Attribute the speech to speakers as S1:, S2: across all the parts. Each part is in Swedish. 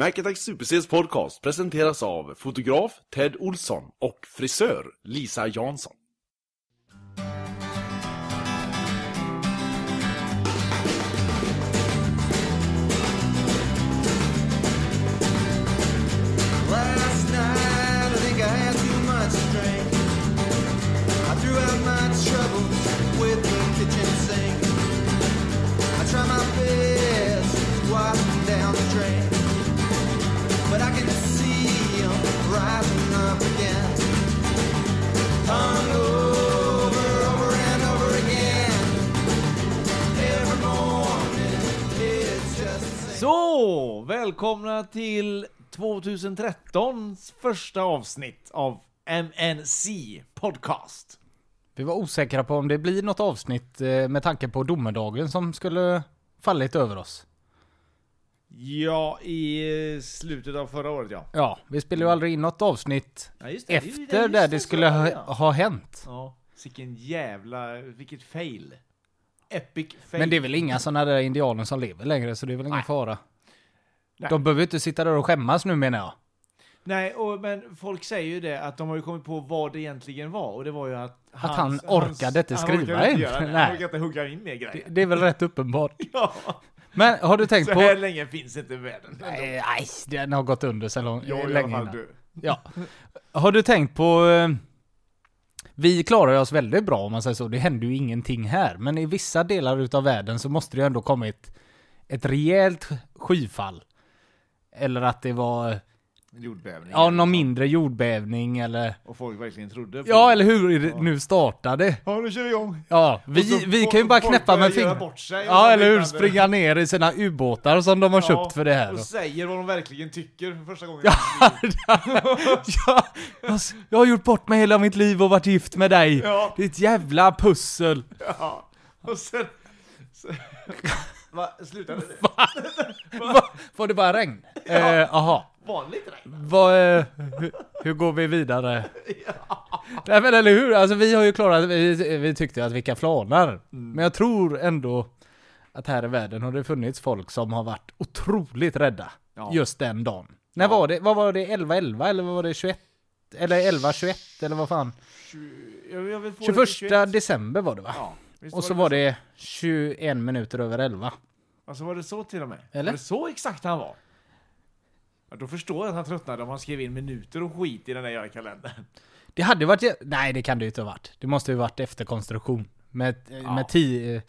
S1: Macattack SuperCs podcast presenteras av fotograf Ted Olsson och frisör Lisa Jansson.
S2: Last night, I think I had too much to drink. I threw out my troubles with the kitchen sink. I tried my best to wash them down the drain, but I can see 'em rising up again. Hung over, over and over again. Every morning, it's just the same.
S3: Så, välkomna till 2013s första avsnitt av MNC Podcast.
S4: Vi var osäkra på om det blir något avsnitt eh, med tanke på domedagen som skulle fallit över oss.
S3: Ja, i eh, slutet av förra året ja. Mm.
S4: Ja, vi spelade ju aldrig in något avsnitt
S3: ja just är ju-
S4: efter
S3: är just
S4: där det
S3: så
S4: skulle
S3: var
S4: ha,
S3: det, Ja.
S4: ha hänt.
S3: ja, vilken jävla, vilket fail. Epic fail.
S4: Men det är väl inga sådana där indianer som lever längre, så det är väl ingen fara.
S3: Nej.
S4: De behöver ju inte sitta där och skämmas nu menar jag.
S3: Nej, och, men folk säger ju det att de har ju kommit på vad det egentligen var och det var ju att...
S4: han orkade inte
S3: han
S4: skriva
S3: orkade
S4: in.
S3: göra det. Han
S4: Nej.
S3: orkade inte hugga in mer
S4: Det,
S3: grejer.
S4: det är väl rätt uppenbart.
S3: Ja,
S4: Men har du tänkt
S3: så
S4: på...
S3: här länge finns inte världen.
S4: Nej, nej, den har gått under så lång,
S3: Jag i alla
S4: länge
S3: fall
S4: innan.
S3: du.
S4: Ja. Har du tänkt på... eh, Vi klarar oss väldigt bra om man säger så. Det händer ju ingenting här. Men i vissa delar utav världen så måste det ju ändå kommit ett rejält skyfall. Eller att det var
S3: Jordbävning.
S4: ja, någon mindre jordbävning eller...
S3: Och folk verkligen trodde på
S4: Ja,
S3: det.
S4: eller hur det nu startade.
S3: Ja, nu kör vi igång!
S4: Ja,
S3: Och
S4: vi,
S3: så
S4: vi
S3: folk-
S4: kan ju bara
S3: folk
S4: knäppa
S3: börjar
S4: med
S3: göra
S4: fingret.
S3: bort sig och
S4: Ja,
S3: så
S4: eller hur?
S3: liknande.
S4: Springa ner i sina ubåtar som de har
S3: Ja,
S4: köpt för det här.
S3: Och
S4: då.
S3: säger vad de verkligen tycker för första gången.
S4: jag, jag, jag har gjort bort mig hela mitt liv och varit gift med dig.
S3: Ja.
S4: Ditt jävla pussel.
S3: Ja. Och sen... sen va, slutade det?
S4: Va? Var det bara regn? Jaha. Eh, aha.
S3: Vanligt regn?
S4: Vad, eh, hur, hur går vi vidare? Nej men eller hur? Alltså vi har ju klarat, vi, vi tyckte att vilka
S3: Mm.
S4: flanar. Men jag tror ändå att här i världen har det funnits folk som har varit otroligt rädda.
S3: Ja.
S4: Just den dagen. När var det? Vad var det? 11-11 eller vad var det? 21? Eller 11-21 eller vad fan?
S3: Jag, jag vill få det till
S4: 21 december var det va?
S3: Ja. Visst
S4: Och så var det 21 minuter över 11.
S3: Alltså var det så till och med?
S4: Eller?
S3: Var det så exakt han var? Ja, då förstår jag att han tröttnade om han skrev in minuter och skit i den där jävla kalendern.
S4: Det hade varit... jä- Nej, det kan det ju inte ha varit. Det måste ju varit efterkonstruktion. Med,
S3: Ja.
S4: med ti, eh,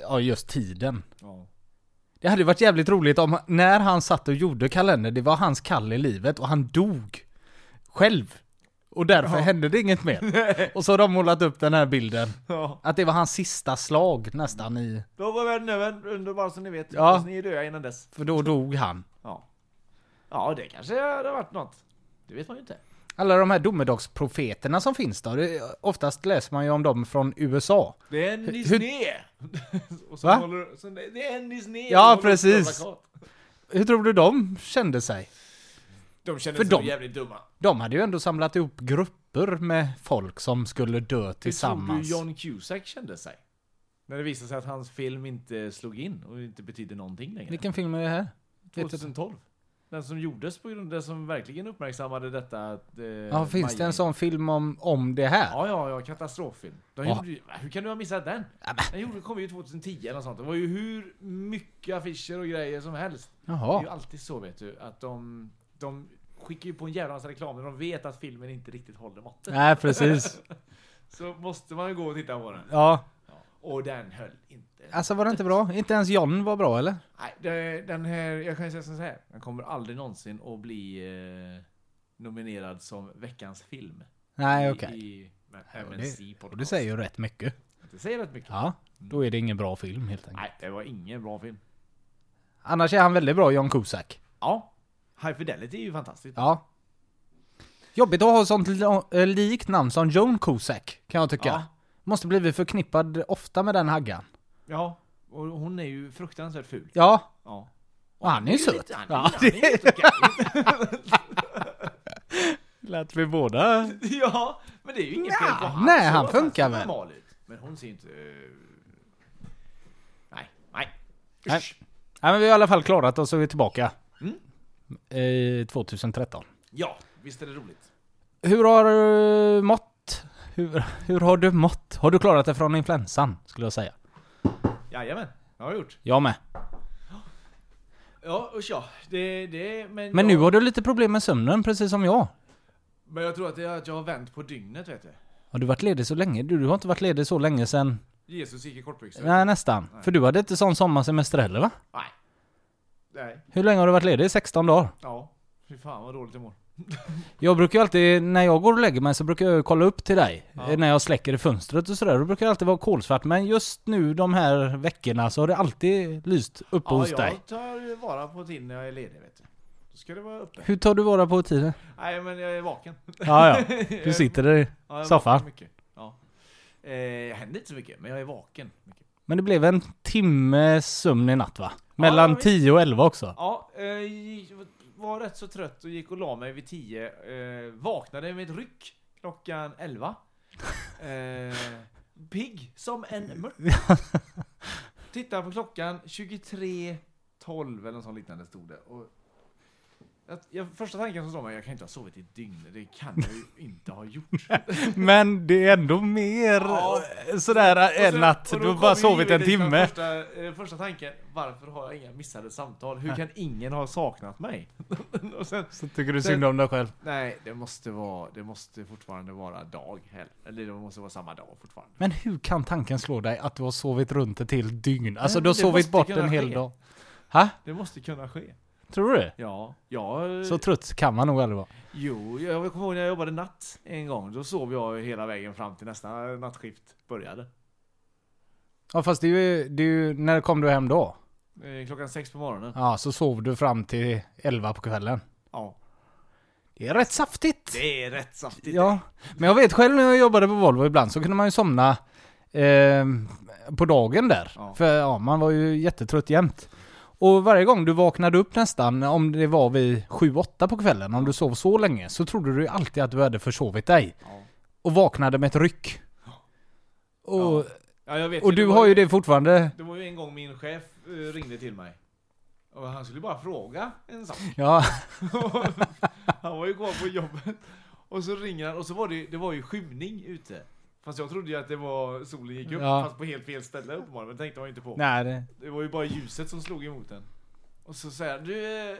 S4: Ja, just tiden.
S3: Ja.
S4: Det hade ju varit jävligt roligt om när han satt och gjorde kalendern, det var hans kall i livet och han dog. Själv. Och därför hände det inget mer. Och så har de målat upp den här bilden.
S3: ja.
S4: Att det var hans sista slag nästan i...
S3: Då var världen över, underbar som ni vet.
S4: Ja.
S3: Hoppas ni är döda innan dess.
S4: För då dog han.
S3: Ja. Ja, det kanske hade varit något. Det vet man ju inte.
S4: Alla de här domedagsprofeterna som finns då, det, oftast läser man ju om dem från USA.
S3: Det är en
S4: hur-
S3: Disney! och så
S4: Va?
S3: håller, så det det är en Disney!
S4: Ja,
S3: som håller upp
S4: precis.
S3: en plakat.
S4: Hur tror du de kände sig?
S3: De känner
S4: För
S3: sig
S4: dem-
S3: jävligt dumma.
S4: De hade ju ändå samlat ihop grupper med folk som skulle dö
S3: Hur tror du
S4: tillsammans.
S3: John Cusack kände sig? När det visade sig att hans film inte slog in och inte betydde någonting längre.
S4: Vilken film är det här? Vet du?
S3: 2012. Den som gjordes på grund av det som verkligen uppmärksammade detta. Att, eh,
S4: Ja, finns det
S3: Miami-
S4: en sån film om, om det här?
S3: Ja, ja, ja, katastroffilm. Den
S4: Ja.
S3: gjorde, ju- hur kan du ha missat den? Den gjorde, kom ju 2010 eller något sånt. Det var ju hur mycket affischer och grejer som helst. Det är ju
S4: Jaha.
S3: alltid så vet du, att de, de skickar ju på en jävla massa reklam när de vet att filmen inte riktigt håller måttet.
S4: Nej, precis.
S3: Så måste man ju gå och titta på den.
S4: Ja,
S3: Ja. Och den höll inte.
S4: alltså var det inte bra? Inte ens John var bra eller?
S3: Nej, det- den här, jag kan ju säga så här. Den kommer aldrig någonsin att bli eh, nominerad som veckans film.
S4: Nej,
S3: I-
S4: okej.
S3: I
S4: Ja, det-
S3: MNC
S4: Och det säger ju rätt mycket.
S3: Det säger rätt mycket.
S4: Ja, då är det ingen bra film helt enkelt.
S3: Nej, det var ingen bra film.
S4: Annars är han väldigt bra, John Cusack.
S3: Ja. High Fidelity är ju fantastiskt.
S4: Ja. Jobbigt att ha sånt li- eh, likt namn som John Cusack, kan jag tycka.
S3: Ja.
S4: Måste blivit förknippad ofta med den haggan.
S3: Ja. Och hon är ju fruktansvärt ful.
S4: Ja,
S3: Ja.
S4: och han är ju söt.
S3: Lite, han,
S4: Ja,
S3: han är helt okej.
S4: Lät vi båda...
S3: Ja, men det är ju inget fel på
S4: Nja,
S3: han.
S4: nej,
S3: Så
S4: han
S3: ser
S4: funkar väl.
S3: normal ut. Men hon ser ju inte... eh, Nej, nej.
S4: Nej. Nej, men vi har i alla fall klarat oss och vi är tillbaka. eh, 2013.
S3: Ja, visst är det roligt.
S4: Hur har du mått? Hur, hur har du mått? Har du klarat dig från influensan, skulle jag säga?
S3: Jajamän, det har jag gjort.
S4: Jag med.
S3: Ja, usch ja. Det, det, men
S4: Men
S3: jag,
S4: nu har du lite problem med sömnen, precis som jag.
S3: men jag tror att, det är att jag har vänt på dygnet, vet du.
S4: Har du varit ledig så länge? Du, du har inte varit ledig så länge sen...
S3: Jesus gick i kortbyxor.
S4: Nej, nästan. För du hade inte sån sommarsemester heller, va?
S3: Nej. Nej.
S4: Hur länge har du varit ledig? 16 dagar?
S3: Ja. Fy fan vad dåligt jag mår.
S4: Jag brukar ju alltid, när jag går och lägger mig så brukar jag ju kolla upp till dig. Eh, När jag släcker i fönstret och sådär. Då brukar jag alltid vara kolsvart. Men just nu de här veckorna så har det alltid lyst uppe
S3: Ja,
S4: hos
S3: jag
S4: dig.
S3: tar ju vara på tiden när jag är ledig, vet du. Då ska det vara uppe.
S4: Hur tar du vara på tiden?
S3: Nej, men jag är vaken.
S4: Ja, ja. Du sitter där i
S3: Ja, jag är
S4: soffan.
S3: vaken Mycket. Ja. Eh, jag händer inte så mycket, men jag är vaken. Mycket.
S4: Men det blev en timme sömn i natt va? Mellan
S3: visst.
S4: 10 och 11 också.
S3: Ja, eh, jag var rätt så trött och gick och la mig vid 10. Eh, vaknade med ett ryck klockan 11. Eh, pigg som en mört. Tittar på klockan 23.12 eller något sånt liknande stod det. Och jag, jag, första tanken som slår mig, jag kan inte ha sovit i ett dygn. Det kan jag ju inte ha gjort.
S4: Men det är ändå mer
S3: Ja.
S4: eh, sådär
S3: Och sen-
S4: än att
S3: och då
S4: du har
S3: kom
S4: bara
S3: ju
S4: sovit en
S3: givetvis den
S4: timme.
S3: Första, eh, första tanken, varför har jag inga missade samtal? Hur kan ingen ha saknat mig? och sen,
S4: Så tycker du synd om dig själv.
S3: nej, det måste, vara, det måste fortfarande vara dag. hell- Eller det måste vara samma dag fortfarande.
S4: Men hur kan tanken slå dig att du har sovit runt ett helt dygn? Alltså
S3: Nej,
S4: du har
S3: men det
S4: sovit
S3: måste
S4: bort
S3: kunna
S4: en hel
S3: ske.
S4: dag. Ha?
S3: Det måste kunna ske.
S4: Tror du det?
S3: Ja, jag...
S4: Så trött kan man nog aldrig vara.
S3: jo, jag kommer ihåg när jag jobbade natt en gång. Då sov jag hela vägen fram till nästa nattskift började.
S4: Ja fast det är ju, det är ju när kom du hem då?
S3: Eh, Klockan sex på morgonen.
S4: Ja så sov du fram till 11 på kvällen.
S3: Ja.
S4: Det är rätt saftigt.
S3: Det är rätt saftigt.
S4: Ja, men jag vet själv när jag jobbade på Volvo ibland så kunde man ju somna eh, på dagen där.
S3: Ja.
S4: För ja, man var ju jättetrött jämt. Och varje gång du vaknade upp nästan, om det var vid 7-8 på kvällen, om du sov så länge, så trodde du ju alltid att du hade försovit dig.
S3: Ja.
S4: Och vaknade med ett ryck. Och,
S3: Ja, jag vet
S4: och
S3: det
S4: du
S3: var
S4: har ju det fortfarande.
S3: Det var ju en gång min chef eh, ringde till mig. Och han skulle bara fråga en sak.
S4: Ja,
S3: han var ju kvar på jobbet. Och så ringer han och så var det, det var ju skymning ute. Fast jag trodde ju att det var solen gick upp,
S4: Ja.
S3: fast på helt fel ställe uppenbarligen. Men det tänkte man ju inte på.
S4: nej, det-
S3: Det var ju bara ljuset som slog emot den. Och så säger han, du... eh,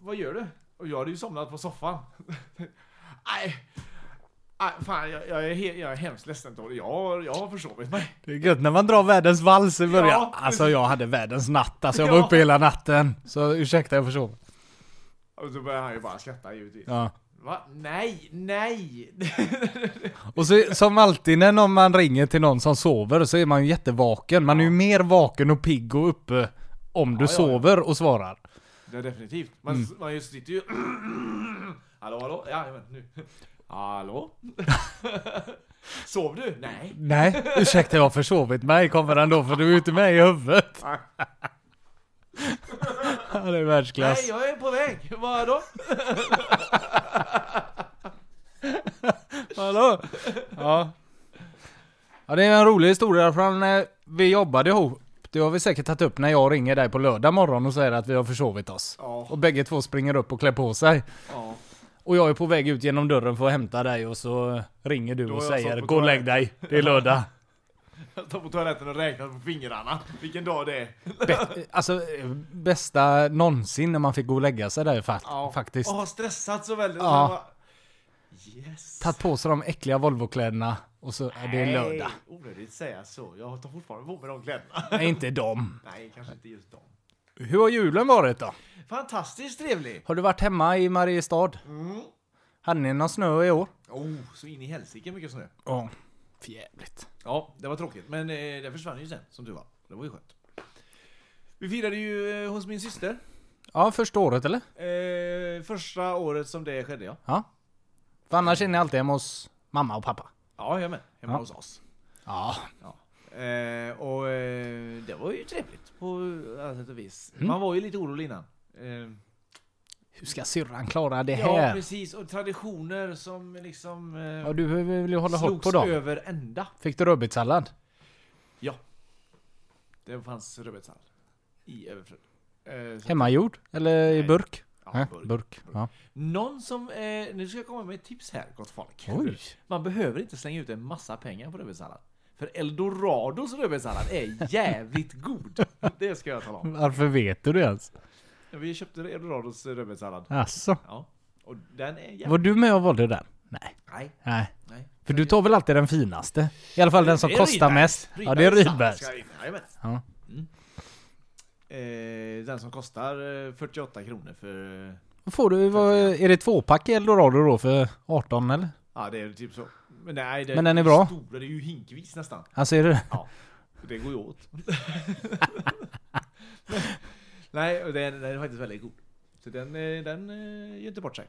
S3: Vad gör du? Och jag hade ju somnat på soffan. Nej. Nej, fan jag, jag, är he- jag är hemskt ledsen Tord. Jag, har- jag har försovit mig.
S4: det är gött när man drar världens vals i början.
S3: Ja,
S4: alltså jag hade världens natt, alltså jag
S3: Ja.
S4: var uppe hela natten. Så ursäkta jag försov.
S3: Och så börjar han ju bara skratta givetvis.
S4: Ja.
S3: Va? Nej, nej!
S4: Och så, som alltid när någon man ringer till någon som sover så är man ju jättevaken. Man är ju mer vaken och pigg och uppe om du
S3: Ja, ja, ja.
S4: sover och svarar.
S3: Det är definitivt. Man,
S4: Mm.
S3: man just sitter ju... hallå, hallå? Ja, men nu. Hallå? Sov du? Nej.
S4: Nej, ursäkta jag har försovit mig kommer han då för du är ju inte med i huvudet. Han är
S3: Nej,
S4: världsklass.
S3: jag är på väg. Vadå?
S4: Hallå? Ja. ja, det är en rolig historia från när vi jobbade ihop. Det har vi säkert tagit upp när jag ringer dig på lördag morgon och säger att vi har försovit oss.
S3: Ja.
S4: Och bägge två springer upp och klär på sig.
S3: Ja.
S4: Och jag är på väg ut genom dörren för att hämta dig och så ringer du
S3: Då
S4: och
S3: har jag
S4: säger
S3: satt på
S4: gå och lägg
S3: toaletten."
S4: dig, det är lördag.
S3: Jag tar på toaletten och räknar på fingrarna. Vilken dag det är.
S4: Bä- alltså eh, bästa någonsin när man fick gå och lägga sig där fakt- faktiskt.
S3: Och har stressat så väldigt.
S4: Ja.
S3: Så jag bara, yes.
S4: Tagit på sig de äckliga Volvo-kläderna och så är det är lördag.
S3: Nej, Onödigt säga så. Jag tar fortfarande på mig de kläderna.
S4: Nej, inte dem.
S3: Nej, kanske inte just dem.
S4: Hur har julen varit då?
S3: Fantastiskt trevlig.
S4: Har du varit hemma i Mariestad?
S3: Mm.
S4: Hade ni någon snö i år?
S3: Oh, så in i helsike mycket snö.
S4: Ja, förjävligt.
S3: Ja, det var tråkigt. Men eh, det försvann ju sen, som du var. Det var ju skönt. Vi firade ju eh, hos min syster.
S4: Ja, första året eller?
S3: Eh, första året som det skedde, ja.
S4: Ja. För annars är ni alltid hemma hos mamma och pappa.
S3: Ja, jag med. Hemma
S4: Ja.
S3: hos oss.
S4: Ja.
S3: Eh, och eh, det var ju trevligt på alla sätt och vis.
S4: Mm.
S3: Man var ju lite orolig innan. Eh,
S4: Hur ska syrran klara det
S3: ja,
S4: här?
S3: precis. Och traditioner som liksom eh,
S4: Ja, du vill ju hålla hårt
S3: slogs
S4: på dem.
S3: över ända.
S4: Fick du rödbetssallad?
S3: Ja. Det fanns rödbetssallad i överflöd. Eh, så-
S4: Hemmagjord? Eller i
S3: Nej.
S4: burk?
S3: Ja,
S4: Nej,
S3: burk.
S4: burk. Ja.
S3: Någon som, eh, nu ska jag komma med ett tips här gott folk.
S4: Oj!
S3: Man behöver inte slänga ut en massa pengar på rödbetssallad. För Eldorados rödbetssallad är jävligt god. Det ska jag tala om.
S4: Varför vet du det ens?
S3: Vi köpte Eldorados rödbetssallad.
S4: Alltså.
S3: Ja. Och den är jävligt...
S4: Var du med och valde den? Nej.
S3: Nej,
S4: Nej.
S3: nej.
S4: För du tar väl alltid den finaste? I alla fall den som
S3: Det är
S4: kostar mest.
S3: Rydbergs.
S4: Ja, det är
S3: Rydbergs.
S4: Rydbergs.
S3: Ska jag in? Jajamän.
S4: Ja.
S3: Mm. Eh, den som kostar eh, 48 kronor för... eh,
S4: Vad får du? Vad, är det tvåpack i eldorado då för 18 eller?
S3: Ja, det är typ så. Men nej, det
S4: Men den är
S3: det
S4: bra.
S3: Stora, det är ju hinkvis nästan.
S4: Alltså är det
S3: Ja, det går ju åt. nej, och den, den är faktiskt väldigt god. Så den, eh, den eh, gör inte bort sig.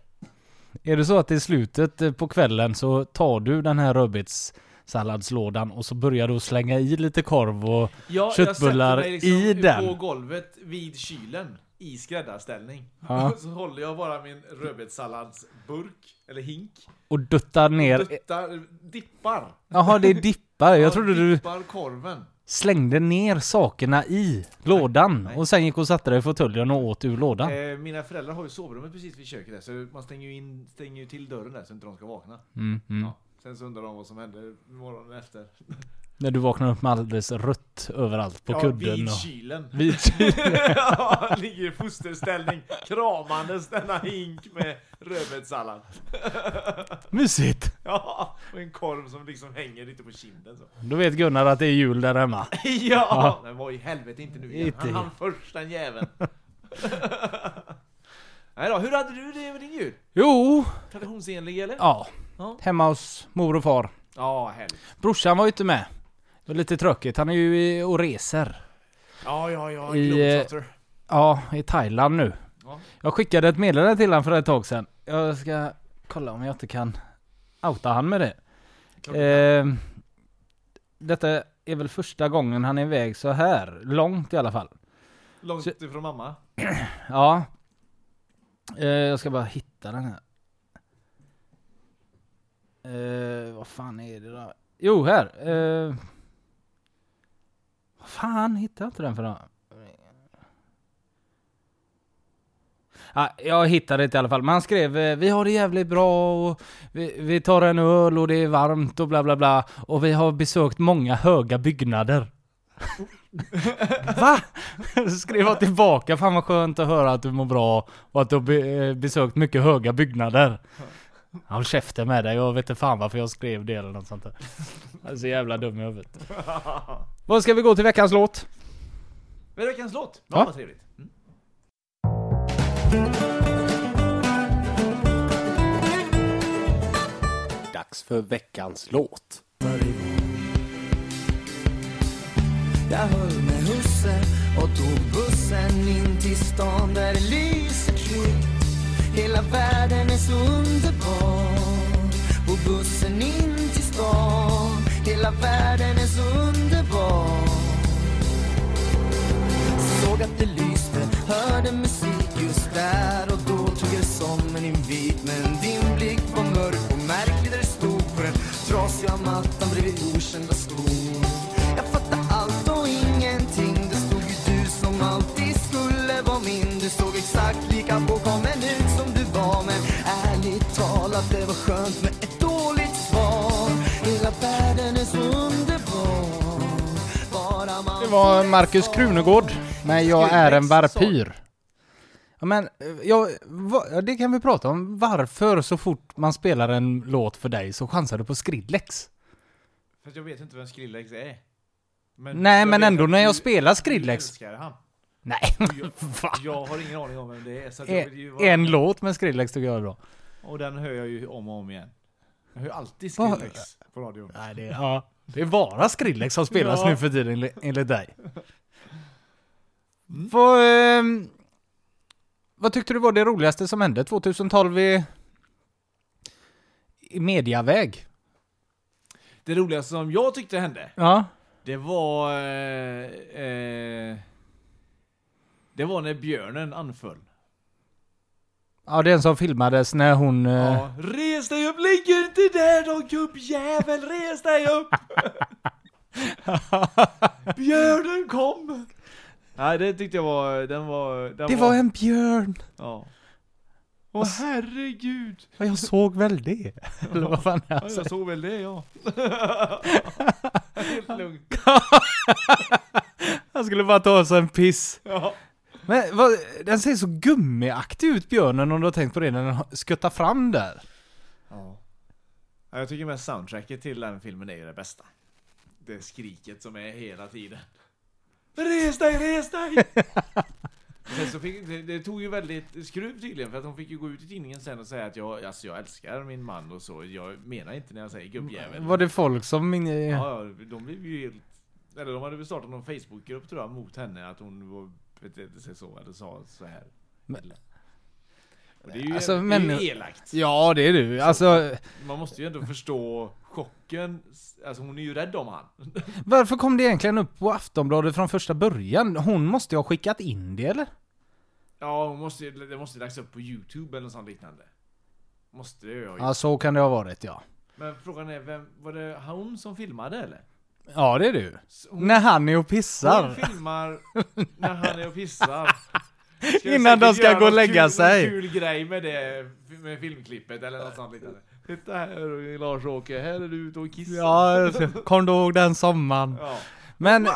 S4: Är det så att i slutet eh, på kvällen så tar du den här rödbetssalladslådan och så börjar du slänga i lite korv och...
S3: Ja,
S4: Köttbullar
S3: jag sätter mig liksom
S4: i
S3: på
S4: den.
S3: golvet vid kylen i skräddarställning.
S4: Ja.
S3: Så håller jag bara min rödbetssalladsburk, eller hink,
S4: Och duttar ner...
S3: duttar, dippar.
S4: Jaha, det är dippar. Jag
S3: Ja,
S4: trodde du
S3: Dippar korven.
S4: slängde ner sakerna i lådan och sen gick och satte dig i fåtöljen och åt ur lådan.
S3: Eh, mina föräldrar har ju sovrummet precis vid köket där, så man stänger ju, in, stänger ju till dörren där så inte de ska vakna.
S4: Mm, mm.
S3: Ja. Sen så undrar de vad som hände morgonen efter.
S4: När du vaknar upp med alldeles rött överallt på
S3: ja,
S4: kudden
S3: vid
S4: och...
S3: kylen.
S4: Vid
S3: ja, ligger i fosterställning kramandes denna hink med rödbetssallad.
S4: Mysigt!
S3: Ja, och en korv som liksom hänger lite på kinden så.
S4: Då vet Gunnar att det är jul där hemma.
S3: Ja! Men vad i helvete inte nu igen.
S4: Inte
S3: Han
S4: igen.
S3: hann först den jäveln. Nej då, hur hade du det med din jul?
S4: Jo,
S3: Traditionsenlig eller?
S4: ja.
S3: Ja.
S4: Hemma hos mor och far.
S3: Ja, härligt.
S4: Brorsan var ju inte med. Det var lite tråkigt. Han är ju i- och reser.
S3: Ja, ja, ja.
S4: I, eh,
S3: Globetrotter.
S4: Ja, i Thailand nu.
S3: Ja.
S4: Jag skickade ett meddelande till han för ett tag sedan. Jag ska kolla om jag inte kan outa han med det.
S3: Klart du
S4: Eh, detta är väl första gången han är iväg så här långt i alla fall.
S3: Långt
S4: så-
S3: ifrån mamma.
S4: Ja. Eh, jag ska bara hitta den här. Eh, vad fan är det då? Jo, här. Eh, vad fan, hittar jag inte den för då? Ah, jag hittade det i alla fall. Men han skrev eh, vi har det jävligt bra och vi, vi tar en öl och det är varmt och bla bla bla. Och vi har besökt många höga byggnader. Va? Så skrev jag tillbaka, fan vad skönt att höra att du mår bra och att du har be- eh, besökt mycket höga byggnader. Ja, Håll käften med dig, jag vet inte fan varför jag skrev det eller något sånt där. Jag är så jävla dum i huvudet. Vad ska vi gå till veckans låt?
S3: Men veckans låt. Ja,
S4: Ja.
S3: vad trevligt. Mm.
S5: Dags för veckans låt.
S2: Jag höll med husse och tog bussen in till stan där det lyser kvitt Hela världen är så underbar På bussen in till stan Hela världen är så underbar Såg att det lyste, hörde musik just där och då tog jag det som en invit Men din blick var mörk och märklig där det stod på den trasiga mattan bredvid okända skor Jag fattade allt och ingenting, det stod ju du som alltid skulle vara min Du såg exakt lika påkommen ut som du var men ärligt talat det var skönt med ett dåligt svar Hela världen är så underbar Bara man
S4: Det var Markus Krunegård med Jag är en varpyr. Ja, men eh, ja, va, ja, det kan vi prata om. Varför så fort man spelar en låt för dig så chansar du på Skrillex?
S3: Fast jag vet inte vem Skrillex är.
S4: Nej,
S3: jag
S4: men
S3: vet
S4: ändå
S3: att
S4: när
S3: du-
S4: jag spelar
S3: du
S4: Skrillex.
S3: älskar han.
S4: Nej, va?
S3: Jag har ingen aning om vem det är. Så att jag vill ju
S4: En,
S3: vara...
S4: Eh, en låt med Skrillex tycker jag är bra.
S3: Och den hör jag ju om och om igen. Jag hör ju alltid
S4: Vad-
S3: Skrillex på radion.
S4: Nej, det, ja. det är bara Skrillex som spelas
S3: Ja.
S4: nu för tiden enli- enligt dig.
S3: Mm.
S4: Vad, ehm, vad tyckte du var det roligaste som hände 2012 i, i mediaväg?
S3: Det roligaste som jag tyckte hände,
S4: Ja.
S3: det var... Eh, eh, det var när björnen anföll.
S4: ja, den som filmades när hon... eh,
S3: Ja, res dig upp, ligg inte där då gubbjävel, res dig upp! Björnen kom! Nej, det tyckte jag var... Den var... Den
S4: Det var en björn!
S3: Ja. Åh herregud!
S4: Ja, Jag såg väl det. Eller vad fan
S3: Ja,
S4: jag
S3: jag
S4: säger.
S3: såg väl det ja. Helt lugnt.
S4: Han skulle bara ta sig en piss.
S3: Ja.
S4: Men vad, den ser så gummiaktig ut björnen om du har tänkt på det när den har- skuttar fram där.
S3: ja. Jag tycker mest soundtracket till den filmen är ju det bästa. Det skriket som är hela tiden. Res dig, res dig! Sen så fick, det, det tog ju väldigt skruv tydligen för att hon fick ju gå ut i tidningen sen och säga att jag, alltså jag älskar min man och så. Jag menar inte när jag säger gubbjävel.
S4: Var det folk som... Min,
S3: Ja, ja, de blev ju helt... Eller de hade väl startat någon Facebookgrupp tror jag mot henne att hon var, betedde sig så eller sa så här.
S4: Men-
S3: Och det är ju,
S4: Alltså,
S3: det är
S4: men-
S3: ju elakt.
S4: ja det är du. Alltså,
S3: Man måste ju ändå förstå chocken. Alltså hon är ju rädd om han.
S4: varför kom det egentligen upp på Aftonbladet från första början? Hon måste ju ha skickat in det eller?
S3: Ja, hon måste, ju- det måste ju lagts upp på Youtube eller något sånt liknande. Måste det ju ha gjort.
S4: Ja, så kan det ha varit ja.
S3: Men frågan är, vem, var det hon som filmade eller?
S4: Ja, det är du.
S3: Så Hon,
S4: När han är och
S3: hon
S4: pissar.
S3: filmar när han är och pissar. Ska
S4: Innan de
S3: säkert
S4: ska
S3: göra
S4: gå och
S3: något
S4: lägga
S3: kul,
S4: sig.
S3: någon kul grej med det, med filmklippet eller något sånt liknande. Titta här Lars-Åke, här är du ute och kissar.
S4: Ja, kom du ihåg den sommaren?
S3: Ja.
S4: Men,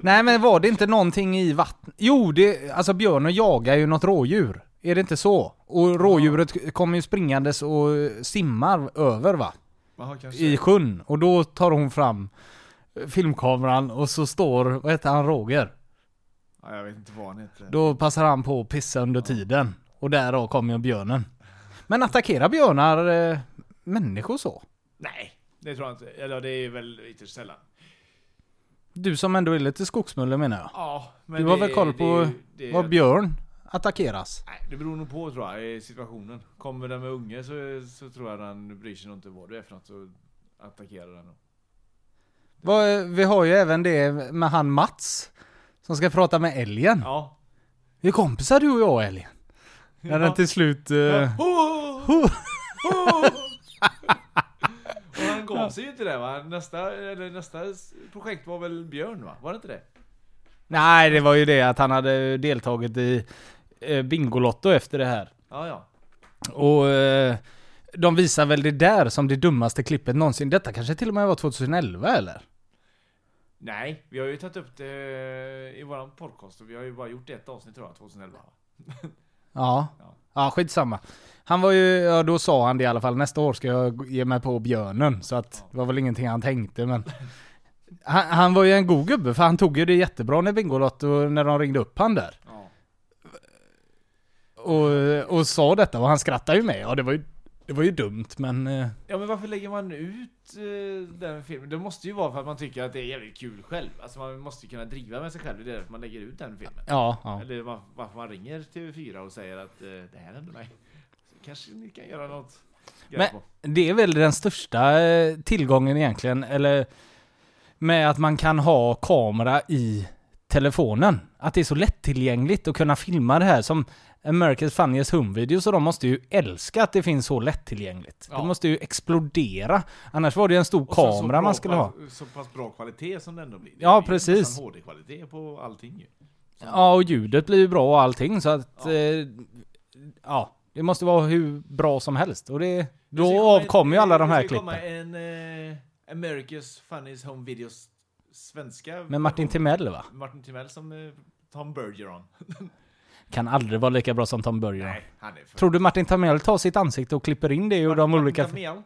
S4: nej men var det inte någonting i vattnet? Jo, det, alltså björnen jagar ju något rådjur. Är det inte så? Och rådjuret kommer ju springandes och simmar över va?
S3: Jaha, kanske.
S4: I sjön. Och då tar hon fram eh, filmkameran och så står, vad heter han, Roger?
S3: Ja, jag vet inte vad han heter.
S4: Då passar han på att pissa under tiden. Och därav kommer ju björnen. Men attackerar björnar eh, människor så?
S3: Nej, det tror jag inte. Eller det är väl ytterst sällan.
S4: Du som ändå är lite skogsmulle menar jag.
S3: Ja, men
S4: Du har
S3: det-
S4: väl koll
S3: det-
S4: på
S3: det-
S4: vad björn attackeras?
S3: Nej, det beror nog på tror jag, i situationen. Kommer den med unge så, så tror jag den bryr sig nog inte vad du är för något så attackerar den. nog.
S4: Vad- eh, Vi har ju även det med han Mats. Som ska prata med älgen.
S3: Ja.
S4: Vi är kompisar du och jag älgen. När den till slut... eh,
S3: Ho!
S4: Ho!
S3: Ho! Och han gav sig ju inte det va? Nästa, eller nästa s- projekt var väl Björn va? Var det inte det?
S4: Nej, det var ju det att han hade deltagit i eh, Bingolotto efter det här.
S3: Ja, ja.
S4: Och eh, de visar väl det där som det dummaste klippet någonsin. Detta kanske till och med var 2011 eller?
S3: Nej, vi har ju tagit upp det i våran podcast och vi har ju bara gjort ett avsnitt tror jag, 2011. va?
S4: Ja.
S3: Ja.
S4: Ja, skitsamma. Han var ju, ja då sa han det i alla fall, nästa år ska jag ge mig på björnen. Så att det var väl ingenting han tänkte men. Han, han var ju en god gubbe för han tog ju det jättebra när Bingolotto, när de ringde upp han där.
S3: Ja.
S4: Och, och sa detta och han skrattade ju med. Ja det var ju, det var ju dumt men. eh,
S3: Ja men varför lägger man ut eh, den filmen? Det måste ju vara för att man tycker att det är jävligt kul själv. Alltså man måste ju kunna driva med sig själv. Det är därför man lägger ut den filmen.
S4: Ja, ja.
S3: Eller var- varför man ringer TV4 och säger att eh, det här hände mig. Så Kanske ni kan göra något. grej
S4: Men-
S3: på.
S4: Det är väl den största eh, tillgången egentligen, eller med att man kan ha kamera i telefonen. Att det är så lättillgängligt att kunna filma det här som America's Funniest Home Videos och de måste ju älska att det finns så lättillgängligt.
S3: Ja.
S4: Det måste ju explodera. Annars var det ju en stor
S3: Och sen så
S4: kamera
S3: bra
S4: man skulle ha.
S3: kval- Så pass bra kvalitet som det ändå blir. Det
S4: Ja,
S3: blir ju
S4: precis.
S3: nästan HD-kvalitet på allting ju.
S4: Ja, och ljudet blir ju bra och allting så att... Ja. Eh, ja, det måste vara hur bra som helst. Och det,
S3: Det ska komma
S4: då
S3: ett-
S4: avkommer ju alla de här
S3: Det ska
S4: klippen.
S3: komma en eh, America's Funniest Home Videos svenska.
S4: Med Martin
S3: version.
S4: Timell va?
S3: Martin Timell som eh, Tom Bergeron.
S4: Kan aldrig vara lika bra som Tom Bergeron.
S3: Nej, han är för...
S4: Tror du Martin Tamell tar sitt ansikte och klipper in det i de
S3: Martin
S4: olika...
S3: Tamel.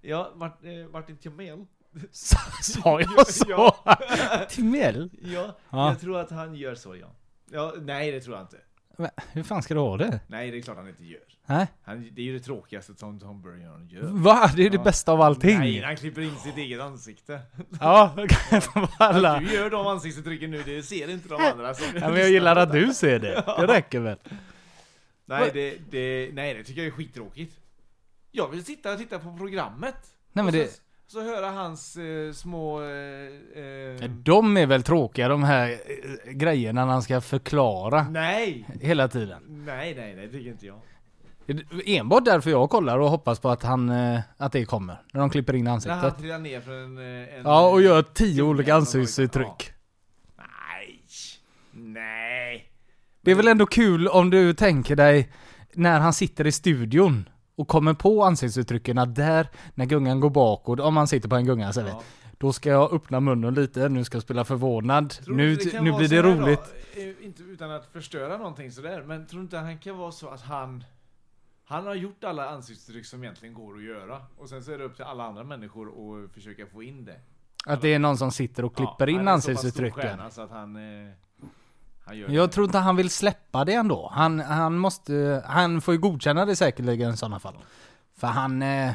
S3: Ja, Mart, eh, Martin Timell.
S4: Sa sa jag så?
S3: Ja,
S4: Timell?
S3: ja,
S4: Ja.
S3: jag tror att han gör så ja. ja. Nej, det tror jag inte.
S4: Men Hur fan ska du ha det?
S3: Nej, det är klart han inte gör.
S4: Hä?
S3: Han, det är ju det tråkigaste som Tom Bergeron gör.
S4: Va? Det är ju det
S3: Ja.
S4: bästa av allting.
S3: Nej, han klipper in sitt eget ansikte.
S4: Ja, alla.
S3: Du gör de ansiktsuttrycken nu, det ser inte de andra. som-
S4: Ja, men jag gillar att du ser det. Det räcker väl?
S3: Nej, det, det, nej, det tycker jag är skittråkigt. Jag vill sitta och titta på programmet.
S4: Nej, men
S3: Och
S4: det-
S3: så, så höra hans eh, små... Eh, eh,
S4: De är väl tråkiga de här eh, grejerna när han ska förklara
S3: nej!
S4: hela tiden.
S3: Nej, nej, nej, det tycker inte jag.
S4: Det är Enbart därför jag kollar och hoppas på att, han, eh, att det kommer. När de klipper in
S3: När han
S4: ansiktet.
S3: trillar ner för en... eh, en
S4: Ja, och gör tio olika
S3: Ja.
S4: ansiktsuttryck.
S3: Nej! Nej.
S4: Det är väl ändå kul om du tänker dig när han sitter i studion och kommer på ansiktsuttrycken att där, när gungan går bakåt, om man sitter på en gunga så vet, då ska jag öppna munnen lite, nu ska jag spela förvånad,
S3: Tror du
S4: nu,
S3: inte kan
S4: nu
S3: vara
S4: blir
S3: så
S4: det
S3: här då?
S4: roligt.
S3: Eh, Inte utan att förstöra någonting sådär, men tror du inte han kan vara så att han... Han har gjort alla ansiktsuttryck som egentligen går att göra. Och sen så är det upp till alla andra människor att försöka få in det.
S4: Att det är någon som sitter och klipper
S3: Ja,
S4: in
S3: han är så pass stor
S4: ansiktsuttrycken.
S3: stjärna Så att han... eh, han gör
S4: Jag
S3: det.
S4: tror inte han vill släppa det ändå. Han, han måste, han får ju godkänna det säkerligen i sådana fall. För han, eh,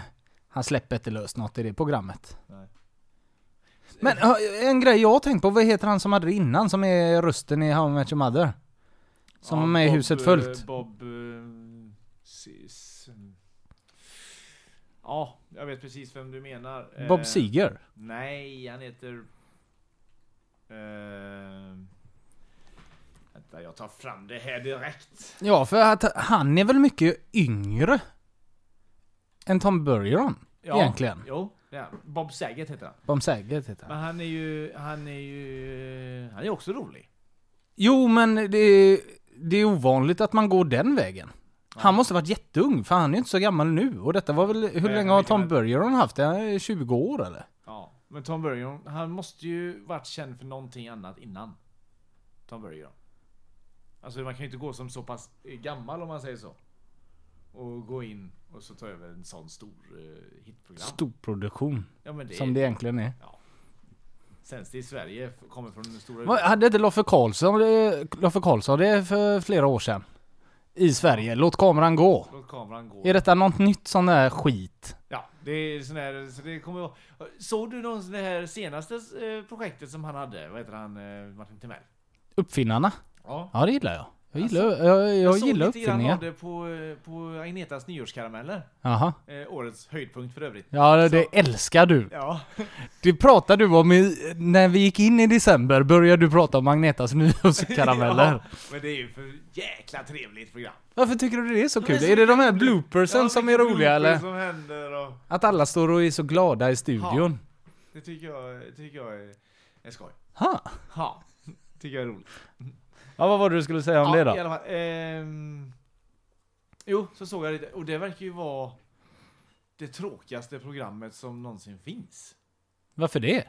S4: han släpper inte löst något i det programmet.
S3: Nej.
S4: Men eh, en grej jag har tänkt på, vad heter han som hade det innan som är rösten i How I Met Your Mother? Som
S3: Ja,
S4: är med i
S3: Bob,
S4: huset
S3: eh,
S4: fullt.
S3: Bob... eh, si- s- Ja, jag vet precis vem du menar. Eh,
S4: Bob Seger.
S3: Nej, han heter... Eh, vänta, jag tar fram det här direkt.
S4: Ja, för att han är väl mycket yngre än Tom Bergeron
S3: Ja,
S4: egentligen.
S3: Jo, det är han. Bob Saget heter han.
S4: Bob Seger heter han.
S3: Men han är ju... Han är ju... Han är också rolig.
S4: Jo, men det är, det är ovanligt att man går den vägen. Han måste varit jätteung, för han är ju inte så gammal nu. Och detta var väl, hur
S3: Nej,
S4: länge har
S3: mycket
S4: Tom
S3: väl.
S4: Bergeron haft det? Han är 20 år eller?
S3: Ja, men Tom Bergeron, han måste ju varit känd för någonting annat innan. Tom Bergeron. Alltså man kan ju inte gå som så pass gammal om man säger så. Och gå in och så ta över en sån stor eh, hitprogram.
S4: Storproduktion,
S3: ja, men det
S4: som det egentligen är.
S3: Sänds det i Sverige, f- kommer från den stora...
S4: Vad, hade inte Loffe Karlsson, det- Loffe Karlsson det för flera år sedan? I Sverige, låt kameran gå.
S3: Låt kameran gå.
S4: Är detta något nytt sån där skit?
S3: Ja, det är sån här, så det kommer jag... Såg du någon sån här senaste eh, projektet som han hade? Vad heter han? eh, Martin Timell?
S4: Uppfinnarna?
S3: Ja.
S4: Ja, det gillar jag. Jag gillar, jag, Alltså, jag, gillar
S3: såg lite grann av
S4: uppfinningar.
S3: det på, eh, på Agnetas nyårskarameller.
S4: Jaha.
S3: Eh, årets höjdpunkt för övrigt.
S4: Ja, det- det älskar du.
S3: Ja.
S4: Det pratade du om i, när vi gick in i december, började du prata om Magnetas nyårskarameller.
S3: ja. Men det är ju för jäkla trevligt program.
S4: Varför tycker du det är så kul?
S3: så
S4: är det de här
S3: kul.
S4: bloopersen
S3: Ja,
S4: som är
S3: vilka
S4: roliga eller?
S3: bloopers som händer och...
S4: Att alla står och är så glada i studion?
S3: Det tycker jag, tycker jag är, är skoj.
S4: Ha.
S3: Ja. Tycker jag är roligt.
S4: Ja, vad var det du skulle säga om
S3: ja,
S4: det
S3: i
S4: då?
S3: alla fall. Ehm, jo, så såg jag lite. Och det verkar ju vara det tråkigaste programmet som någonsin finns.
S4: Varför
S3: Eh.
S4: det?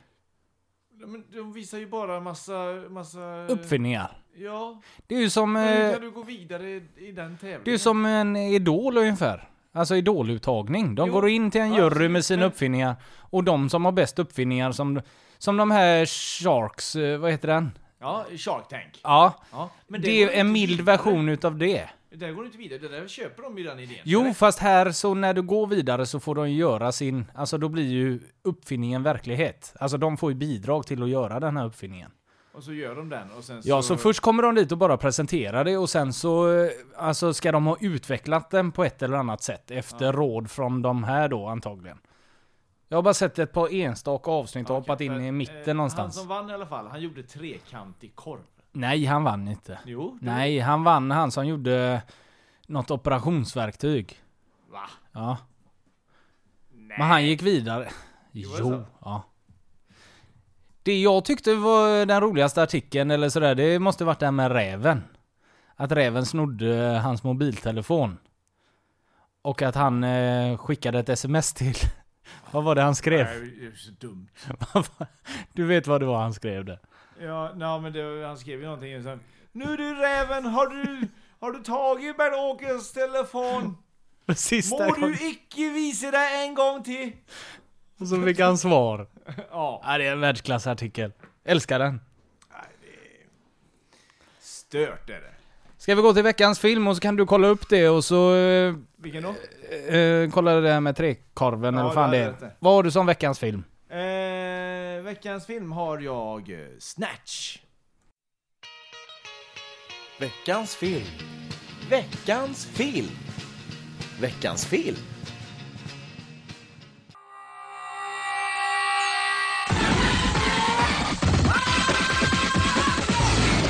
S3: Ja, Men de visar ju bara massa... massa
S4: Uppfinningar.
S3: Ja.
S4: Det är ju som,
S3: Hur
S4: eh,
S3: kan du gå vidare i, i den tävlingen?
S4: det är ju som en idol ungefär. Alltså idoluttagning. De
S3: Jo,
S4: går in till en jury
S3: absolut,
S4: med sina
S3: men-
S4: uppfinningar. Och de som har bäst uppfinningar som, som de här Sharks, eh, vad heter den?
S3: Ja, Shark Tank.
S4: Ja,
S3: Ja, men
S4: det
S3: där
S4: är
S3: går du
S4: en
S3: inte
S4: mild
S3: vidare.
S4: version utav det.
S3: Där går du inte vidare, det där köper de ju den idén.
S4: Jo,
S3: eller?
S4: fast här så när du går vidare så får de göra sin, alltså då blir ju uppfinningen verklighet. Alltså de får ju bidrag till att göra den här uppfinningen.
S3: Och så gör de den och sen
S4: Ja,
S3: så...
S4: så först kommer de dit och bara presenterar det och sen så, eh, alltså ska de ha utvecklat den på ett eller annat sätt efter råd från de här då antagligen. Jag har bara sett ett par enstaka avsnitt och
S3: Okej,
S4: hoppat in
S3: för,
S4: i mitten
S3: eh,
S4: någonstans.
S3: Han som vann i alla fall, han gjorde trekantig korv.
S4: Nej, han vann inte.
S3: Jo. det-
S4: Nej, han vann han som gjorde något operationsverktyg.
S3: Va?
S4: Ja.
S3: Nej.
S4: Men han gick vidare.
S3: var det
S4: Jo,
S3: så?
S4: ja. Det jag tyckte var den roligaste artikeln eller sådär, det måste varit den med räven. Att räven snodde hans mobiltelefon. Och att han eh, skickade ett sms till... Vad var det han skrev?
S3: Nej, det är så dumt.
S4: Du vet vad det var han skrev där.
S3: Ja, nej, men det, han skrev ju någonting sen. Nu du räven, har du, har du tagit Bernt-Åkes telefon?
S4: Sista
S3: Må
S4: gången.
S3: du icke visa dig en gång till?
S4: Och så fick han svar.
S3: Ja.
S4: Ja, det är en världsklassartikel. Älskar den.
S3: Stört är det.
S4: Ska vi gå till veckans film och så kan du kolla upp det och så... eh,
S3: Vilken då?
S4: Eh, kolla det här med trekorven
S3: Ja,
S4: eller vad fan
S3: det
S4: det
S3: hade jag
S4: är.
S3: inte.
S4: Vad har du som veckans film?
S3: Eh, veckans film har jag eh, Snatch.
S5: Veckans film. Veckans film. Veckans film.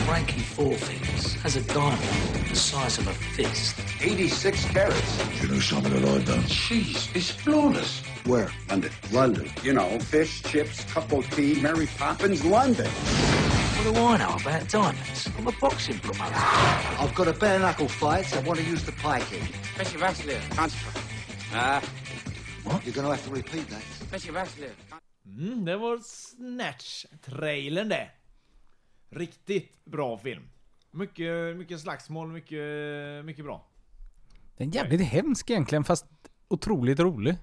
S6: Ranky forefingers has a diamond the size of a fist.
S7: 86 carats.
S8: You know something that I don't.
S7: Cheese is flawless.
S8: Where? London. London.
S7: You know, fish, chips, cup of tea, Mary Poppins, London.
S6: Well, What do I know about diamonds? I'm a boxing promoter.
S8: I've got a bare knuckle fight, so I want to use the pie kick. You're going to have to repeat that.
S3: Mm, det var Snatch-trailern det. Riktigt bra film. Mycket, mycket slagsmål, mycket, mycket bra.
S4: Den är jävligt hemsk egentligen fast otroligt rolig.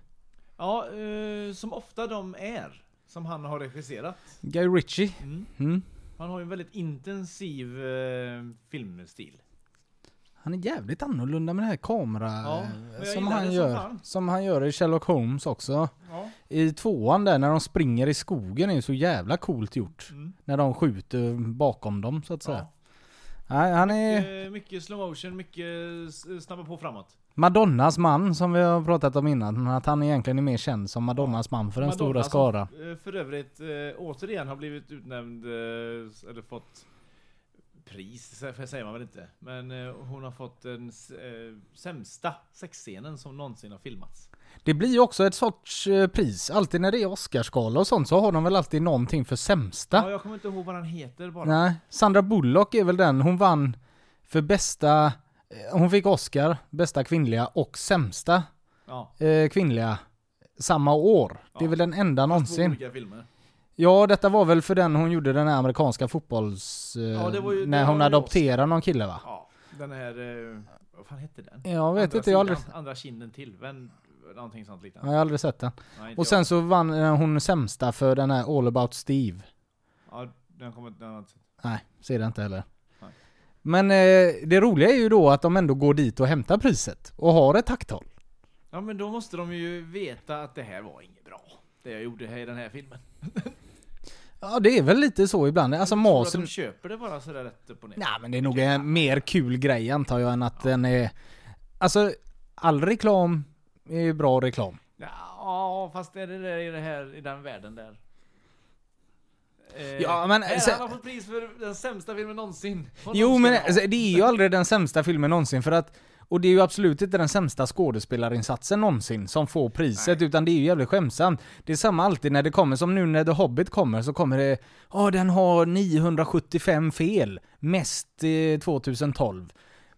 S3: Ja, eh, som ofta de är. Som han har regisserat.
S4: Guy Ritchie. Mm.
S3: Han har ju en väldigt intensiv eh, filmstil.
S4: Han är jävligt annorlunda med den här kamera eh,
S3: Ja, men jag
S4: som
S3: gillar
S4: han
S3: det som
S4: gör. Som,
S3: fan.
S4: han gör i Sherlock Holmes också.
S3: Ja.
S4: I tvåan där när de springer i skogen är ju så jävla coolt gjort.
S3: Mm.
S4: När de skjuter bakom dem så att säga. Nej, han är
S3: Eh, mycket slow motion, mycket s- eh, snabba på framåt.
S4: Madonnas man som vi har pratat om innan. Att han egentligen är mer känd som Madonnas man för den stora
S3: Madonna
S4: skara.
S3: Som, eh, för övrigt eh, återigen har blivit utnämnd, eh, s- eller fått pris, så- för säger man väl inte. Men eh, hon har fått den s- eh, sämsta sexscenen som någonsin har filmats.
S4: Det blir ju också ett sorts eh, pris. Alltid när det är Oscarsgala och sånt så har de väl alltid någonting för sämsta.
S3: Ja, jag kommer inte ihåg vad han heter bara.
S4: Nej, Sandra Bullock är väl den. Hon vann för bästa... eh, Hon fick Oscar, bästa kvinnliga och sämsta
S3: Ja,
S4: eh, kvinnliga samma år. Det är väl den enda
S3: två
S4: någonsin.
S3: olika filmer.
S4: Ja, detta var väl för den hon gjorde den här amerikanska fotbolls... Eh,
S3: Ja, det var ju-
S4: när
S3: det
S4: hon
S3: var ju
S4: adopterade någon kille va?
S3: Ja, den här, eh, vad fan hette den?
S4: Jag vet
S3: andra
S4: inte, jag har
S3: sidan,
S4: aldrig,
S3: Andra kinden till, vem, någonting sånt
S4: jag
S3: liknande.
S4: har aldrig sett den.
S3: Nej, inte
S4: Och sen så vann eh, hon sämsta för den här All about Steve.
S3: jag. Ja, den kommer inte... den har inte sett.
S4: Nej, ser det inte heller.
S3: Nej.
S4: Men eh, det roliga är ju då att de ändå går dit och hämtar priset och har ett tacktal.
S3: Ja, men då måste de ju veta att det här var inget bra. Det jag gjorde här i den här filmen.
S4: Ja, det är väl lite så ibland. Alltså
S3: Tror att
S4: masen...
S3: de köper det bara sådär rätt upp och ner?
S4: Nej, men det är nog en mer kul grej antar jag än att den är... Alltså, all reklam är ju bra reklam.
S3: Ja, fast är det där i, det här, i den världen där? Eh,
S4: Ja, men,
S3: här,
S4: sen-
S3: Han har fått pris för den sämsta filmen någonsin. Vad
S4: Jo,
S3: någon ska
S4: men
S3: ha.
S4: alltså, det är ju aldrig den sämsta filmen någonsin för att... Och det är ju absolut inte den sämsta skådespelarinsatsen någonsin som får priset, utan det är ju jävligt skämtsamt. Det är samma alltid när det kommer, som nu när The Hobbit kommer, så kommer det... Ja, den har 975 fel. Mest eh, 2012.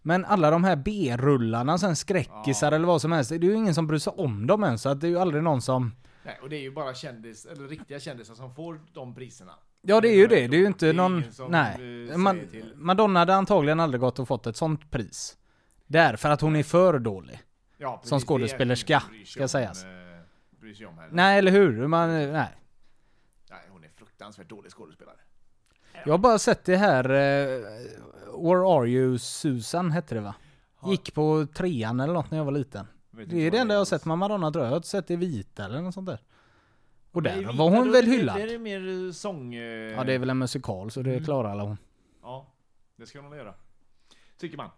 S4: Men alla de här B-rullarna, sen skräckisar eller vad som helst, det är ju ingen som bryr sig om dem än, så att det är ju aldrig någon som...
S3: Nej, och det är ju bara kändis, eller riktiga kändisar som får de priserna.
S4: Ja det är ju det, det är ju
S3: Det
S4: inte
S3: är
S4: någon...
S3: ingen som, eh,
S4: Nej.
S3: säger
S4: Man,
S3: till.
S4: Madonna hade antagligen aldrig gått och fått ett sånt pris. Där, för att hon är för dålig.
S3: Ja,
S4: Som
S3: precis, det är ingen
S4: skådespelerska,
S3: som bryr sig
S4: ska
S3: om,
S4: sägas.
S3: eh, Bryr sig om henne.
S4: Nej eller hur? Man, nej.
S3: Nej, hon är fruktansvärt dålig skådespelare.
S4: Jag har bara sett det här... eh, Where are you Susan hette det va? Gick på trean eller något när jag var liten.
S3: Vet inte
S4: Det är
S3: vad
S4: det enda jag har
S3: alls.
S4: sett med Madonna tror jag. Jag har inte sett det vita eller något sånt där. Och
S3: Det är ju
S4: där
S3: vita,
S4: var
S3: då
S4: hon
S3: är
S4: väl
S3: det-
S4: hyllad.
S3: Det är Mm. mer eh, sång... eh,
S4: Ja det är väl en musikal så det klarar alla hon.
S3: Ja, det ska hon väl göra. Tycker man.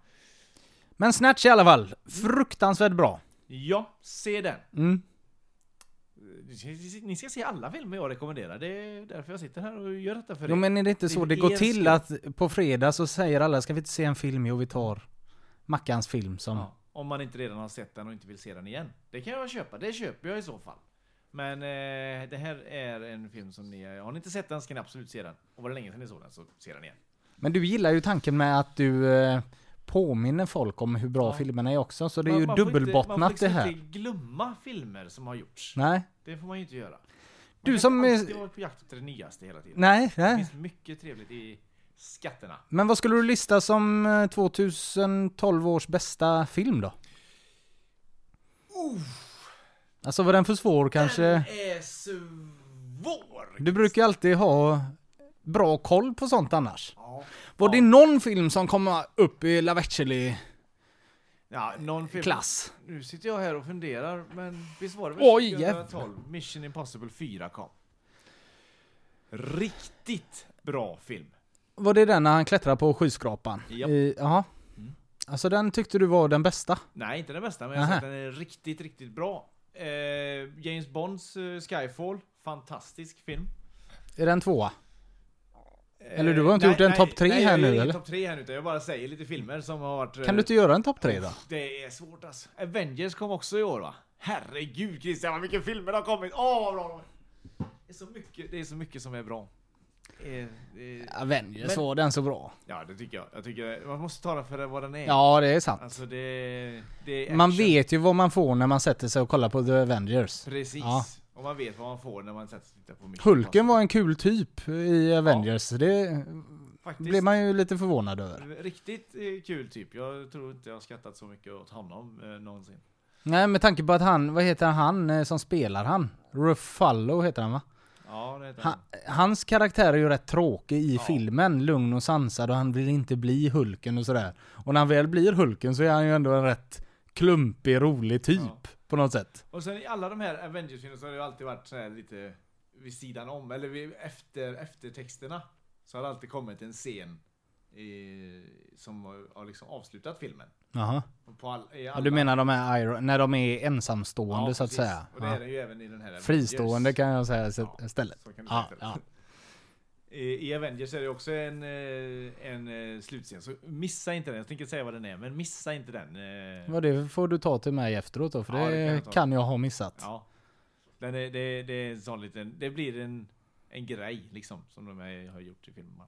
S4: Men Snatch i alla fall.
S3: Mm.
S4: Fruktansvärt bra.
S3: Ja, se den.
S4: Mm.
S3: Ni ska se alla filmer jag rekommenderar. Det är därför jag sitter här och gör detta för
S4: Jo
S3: er.
S4: men är det inte så
S3: för
S4: det går
S3: er
S4: till
S3: skull.
S4: att på fredag så säger alla ska vi inte se en film? Jo vi tar Mackans film som...
S3: Ja, om man inte redan har sett den och inte vill se den igen. Det kan jag köpa. Det köper jag i så fall. Men eh, det här är en film som ni... Har ni inte sett den ska ni absolut se den. Och var det länge sedan ni såg den så se den igen.
S4: Men du gillar ju tanken med att du eh, påminner folk om hur bra
S3: Ja.
S4: filmerna är också. Så det
S3: Man-
S4: är ju
S3: man får inte-
S4: dubbelbottnat det här.
S3: Man får liksom inte glömma filmer som har gjorts.
S4: Nej.
S3: Det får man ju inte göra. Man
S4: Du
S3: kan
S4: som
S3: inte
S4: är-
S3: alltid vara på jakt efter det nyaste hela tiden.
S4: Nej,
S3: Det
S4: nej.
S3: finns mycket trevligt i skatterna.
S4: Men vad skulle du lista som eh, 2012 års bästa film då? Alltså var den för svår kanske?
S3: Den är svår!
S4: Du brukar ju alltid ha bra koll på sånt annars.
S3: Ja.
S4: Var det någon film som kom upp i Lavetcheli
S3: Ja, någon film.
S4: klass?
S3: Nu sitter jag här och funderar, men visst var det
S4: Oj,
S3: väl 2012? Mission Impossible 4 kom. Riktigt bra film.
S4: Var det den när han klättrar på skyskrapan?
S3: Japp.
S4: I- Jaha. Alltså den tyckte du var den bästa?
S3: Nej, inte den bästa, men jag tycker
S4: Nähä.
S3: att den är riktigt, riktigt bra. Eh, James Bonds eh, Skyfall, fantastisk film.
S4: Är den tvåa?
S3: Eh,
S4: Eller du har inte gjort en topp tre
S3: nej,
S4: här
S3: jag gör
S4: nu,
S3: ingen
S4: eller?
S3: topp tre här nu, utan jag bara säger lite filmer som har varit... eh,
S4: Kan du inte göra en topp tre då?
S3: Det är svårt alltså. Avengers kom också i år va? Herregud Christian vad mycket filmer det har kommit! Åh vad bra de är! Det är så mycket, det är så mycket som är bra. Eh, eh,
S4: Avengers
S3: Men-
S4: var den så bra.
S3: Ja, det tycker jag. Jag tycker man måste ta den för vad den är.
S4: Ja, det är sant.
S3: Alltså det, det är
S4: man
S3: action.
S4: vet ju vad man får när man sätter sig och kollar på The Avengers.
S3: Precis.
S4: Ja.
S3: Och man vet vad man får när man sätter sig och tittar på Mission
S4: Hulken var en kul typ i Avengers. så Det
S3: Impossible. Faktiskt.
S4: blev man ju lite förvånad över.
S3: Riktigt eh, kul typ. Jag tror inte jag har skrattat så mycket åt honom eh, någonsin.
S4: Nej, med tanke på att han, vad heter han eh, som spelar han? Ruffalo heter han va?
S3: Ja, det heter
S4: Han,
S3: han.
S4: hans karaktär är ju rätt tråkig i filmen. Lugn och sansad och han vill inte bli Hulken och sådär. Och när han väl blir Hulken så är han ju ändå en rätt klumpig, rolig typ.
S3: Ja.
S4: På något sätt.
S3: Och sen i alla de här Avengers-filmerna så har det ju alltid varit så här lite vid sidan om, eller vid efter eftertexterna. Så har det alltid kommit en scen i, som har, har liksom avslutat filmen.
S4: Jaha.
S3: Och På all, i
S4: Ja,
S3: alla,
S4: du menar de är Iron, när de är ensamstående
S3: Ja,
S4: så att
S3: precis.
S4: säga.
S3: Och det
S4: Ja.
S3: är det ju även i den här Avengers.
S4: Fristående kan jag säga så-
S3: Ja,
S4: istället.
S3: så kan du
S4: Ja,
S3: säga
S4: ja.
S3: I, I Avengers är det också en, eh, en eh, slutscen, så missa inte den. Jag tänker säga vad den är, men missa inte den. eh.
S4: Vad det får du ta till mig efteråt då, för
S3: Ja,
S4: det,
S3: det kan jag
S4: kan,
S3: ta.
S4: jag ha missat. Ja.
S3: Ja. Den är, det, det är en sån liten, det blir en, en grej liksom, som de här har gjort i filmerna.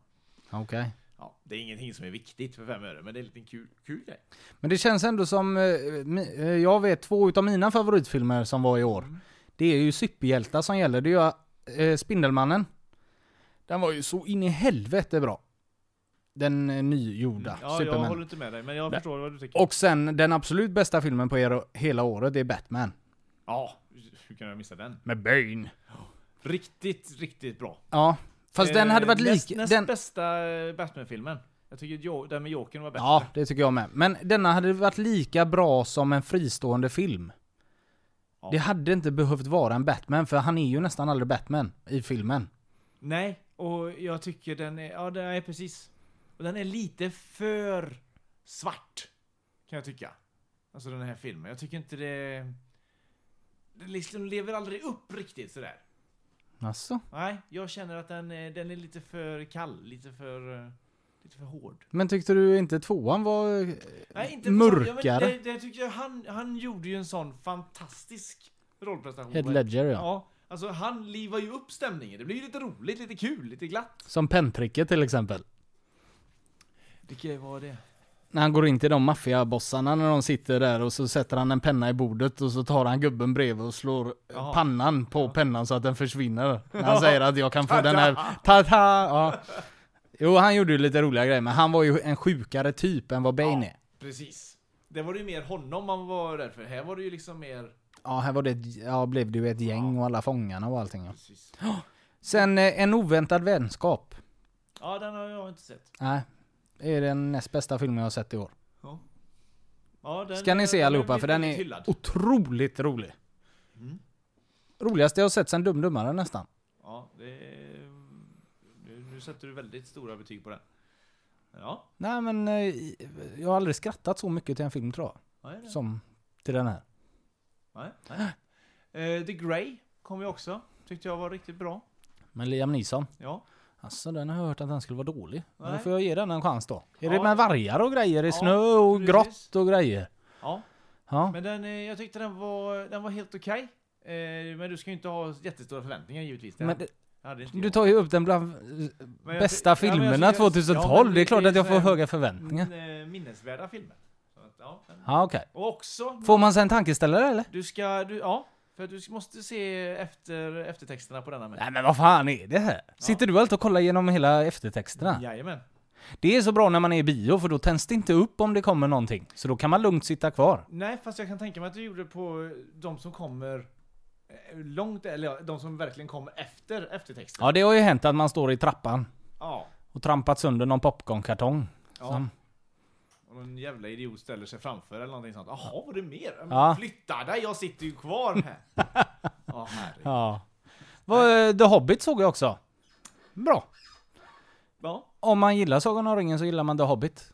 S4: Okej.
S3: Ja, det är ingenting som är viktigt för fem öre, men det är en liten kul, kul grej.
S4: Men det känns ändå som, eh, mi- eh, jag vet två utav mina favoritfilmer som var i år.
S3: Mm.
S4: Det är ju superhjältar som gäller. Det är ju eh, Spindelmannen. Den var ju så in i helvete bra. Den eh, nygjorda
S3: Mm. Ja, jag
S4: Superman.
S3: håller inte med dig, men jag
S4: Nej.
S3: förstår vad du tycker.
S4: Och sen den absolut bästa filmen på er, hela året, det är Batman.
S3: Ja, hur kan jag missa den?
S4: Med Bane.
S3: Riktigt, riktigt bra.
S4: Ja, fast den
S3: Eh,
S4: hade varit
S3: näst,
S4: lik...
S3: Näst
S4: Den,
S3: bästa eh, Batman-filmen. Jag tycker Jo- den med Jokern var bättre.
S4: ja, det tycker jag med. Men denna hade varit lika bra som en fristående film.
S3: Ja.
S4: Det hade inte behövt vara en Batman, för han är ju nästan aldrig Batman i filmen.
S3: Nej, och jag tycker den är, ja den är precis. Och den är lite för svart. Kan jag tycka. Alltså den här filmen. Jag tycker inte det... Den liksom lever aldrig upp riktigt sådär.
S4: Alltså.
S3: Nej, jag känner att den, är- den är lite för kall, lite för... eh, Lite för hård.
S4: Men tyckte du inte tvåan var... eh,
S3: Nej, inte
S4: Mörkare.
S3: Ja, men det, det tycker jag, han, han gjorde ju en sån fantastisk rollprestation.
S4: Heath Ledger ja.
S3: Ja, alltså han livar ju upp stämningen. Det blir ju lite roligt, lite kul, lite glatt.
S4: Som penntricket till exempel.
S3: Vilket var det?
S4: När han går in till de maffiabossarna när de sitter där och så sätter han en penna i bordet och så tar han gubben bredvid och slår eh,
S3: Ja.
S4: pannan på pennan så att den försvinner. När han säger att jag kan få den här... Ta-ta! Ja. Jo, han gjorde ju lite roliga grejer, men han var ju en sjukare typ än vad Bane är.
S3: Precis. Det var det ju mer honom man var rädd för. Här var det ju liksom mer...
S4: Ja, här var det, ett- ja, blev det ju ett gäng och alla fångarna och allting. Ja.
S3: Precis.
S4: Sen eh, En oväntad vänskap.
S3: Ja, den har jag inte sett.
S4: Nej, det är den näst bästa filmen jag har sett i år.
S3: Ja. Ja, den,
S4: Ska ni se
S3: den
S4: allihopa
S3: blir
S4: för den
S3: väldigt
S4: är
S3: hyllad. Mm.
S4: otroligt rolig. Roligaste jag har sett sen Dum Dummare nästan.
S3: Ja, det är... nu, nu sätter du väldigt stora betyg på den. Ja.
S4: Nej men eh, jag har aldrig skrattat så mycket till en film tror
S3: ja är det.
S4: jag. Som till den här.
S3: Nej, nej. Eh, The Grey kom ju också. Tyckte jag var riktigt bra.
S4: Men Liam Neeson.
S3: Ja.
S4: Alltså den har jag hört att den skulle vara dålig. Men då
S3: Nej.
S4: får jag ge den en chans då. Är det
S3: Ja.
S4: med vargar och grejer? i
S3: Ja,
S4: snö och
S3: precis.
S4: grått och grejer?
S3: Ja.
S4: Ja.
S3: Men den, eh, jag tyckte den var, den var helt okej. Eh, men du ska ju inte ha jättestora förväntningar givetvis. Den-
S4: Men det-
S3: jag hade inte
S4: du
S3: jag.
S4: tar ju upp den bland eh,
S3: Men jag
S4: bästa
S3: ty- ja, men jag
S4: filmerna
S3: tycker-
S4: 2012.
S3: ja, men
S4: det är klart
S3: ju
S4: att jag
S3: så
S4: får
S3: här
S4: höga förväntningar.
S3: min- eh, Minnesvärda filmer. Så att, ja, den-
S4: Ja okej.
S3: Och också,
S4: Får man sig en tankeställare eller?
S3: du ska, du, ja, för du måste se efter eftertexterna på denna med.
S4: Nej men vad fan är det här? Sitter du alltid och kollar igenom hela eftertexterna?
S3: Jajamän.
S4: Det är så bra när man är i bio för då tänds det inte upp om det kommer någonting. Så då kan man lugnt sitta kvar.
S3: Nej, fast jag kan tänka mig att du gjorde det på de som kommer eh, långt, eller ja, de som verkligen kommer efter eftertexten.
S4: Ja det har ju hänt att man står i trappan
S3: Ja.
S4: och trampat sönder någon popcornkartong.
S3: ja. Och någon jävla idiot ställer sig framför eller någonting sånt. Jaha, var det mer? Men
S4: Ja.
S3: Flytta dig, jag sitter ju kvar här. Ja, herregud.
S4: Ja. Vad, eh, The Hobbit såg jag också. Bra.
S3: Ja.
S4: Om man gillar Sagan om ringen så gillar man The Hobbit.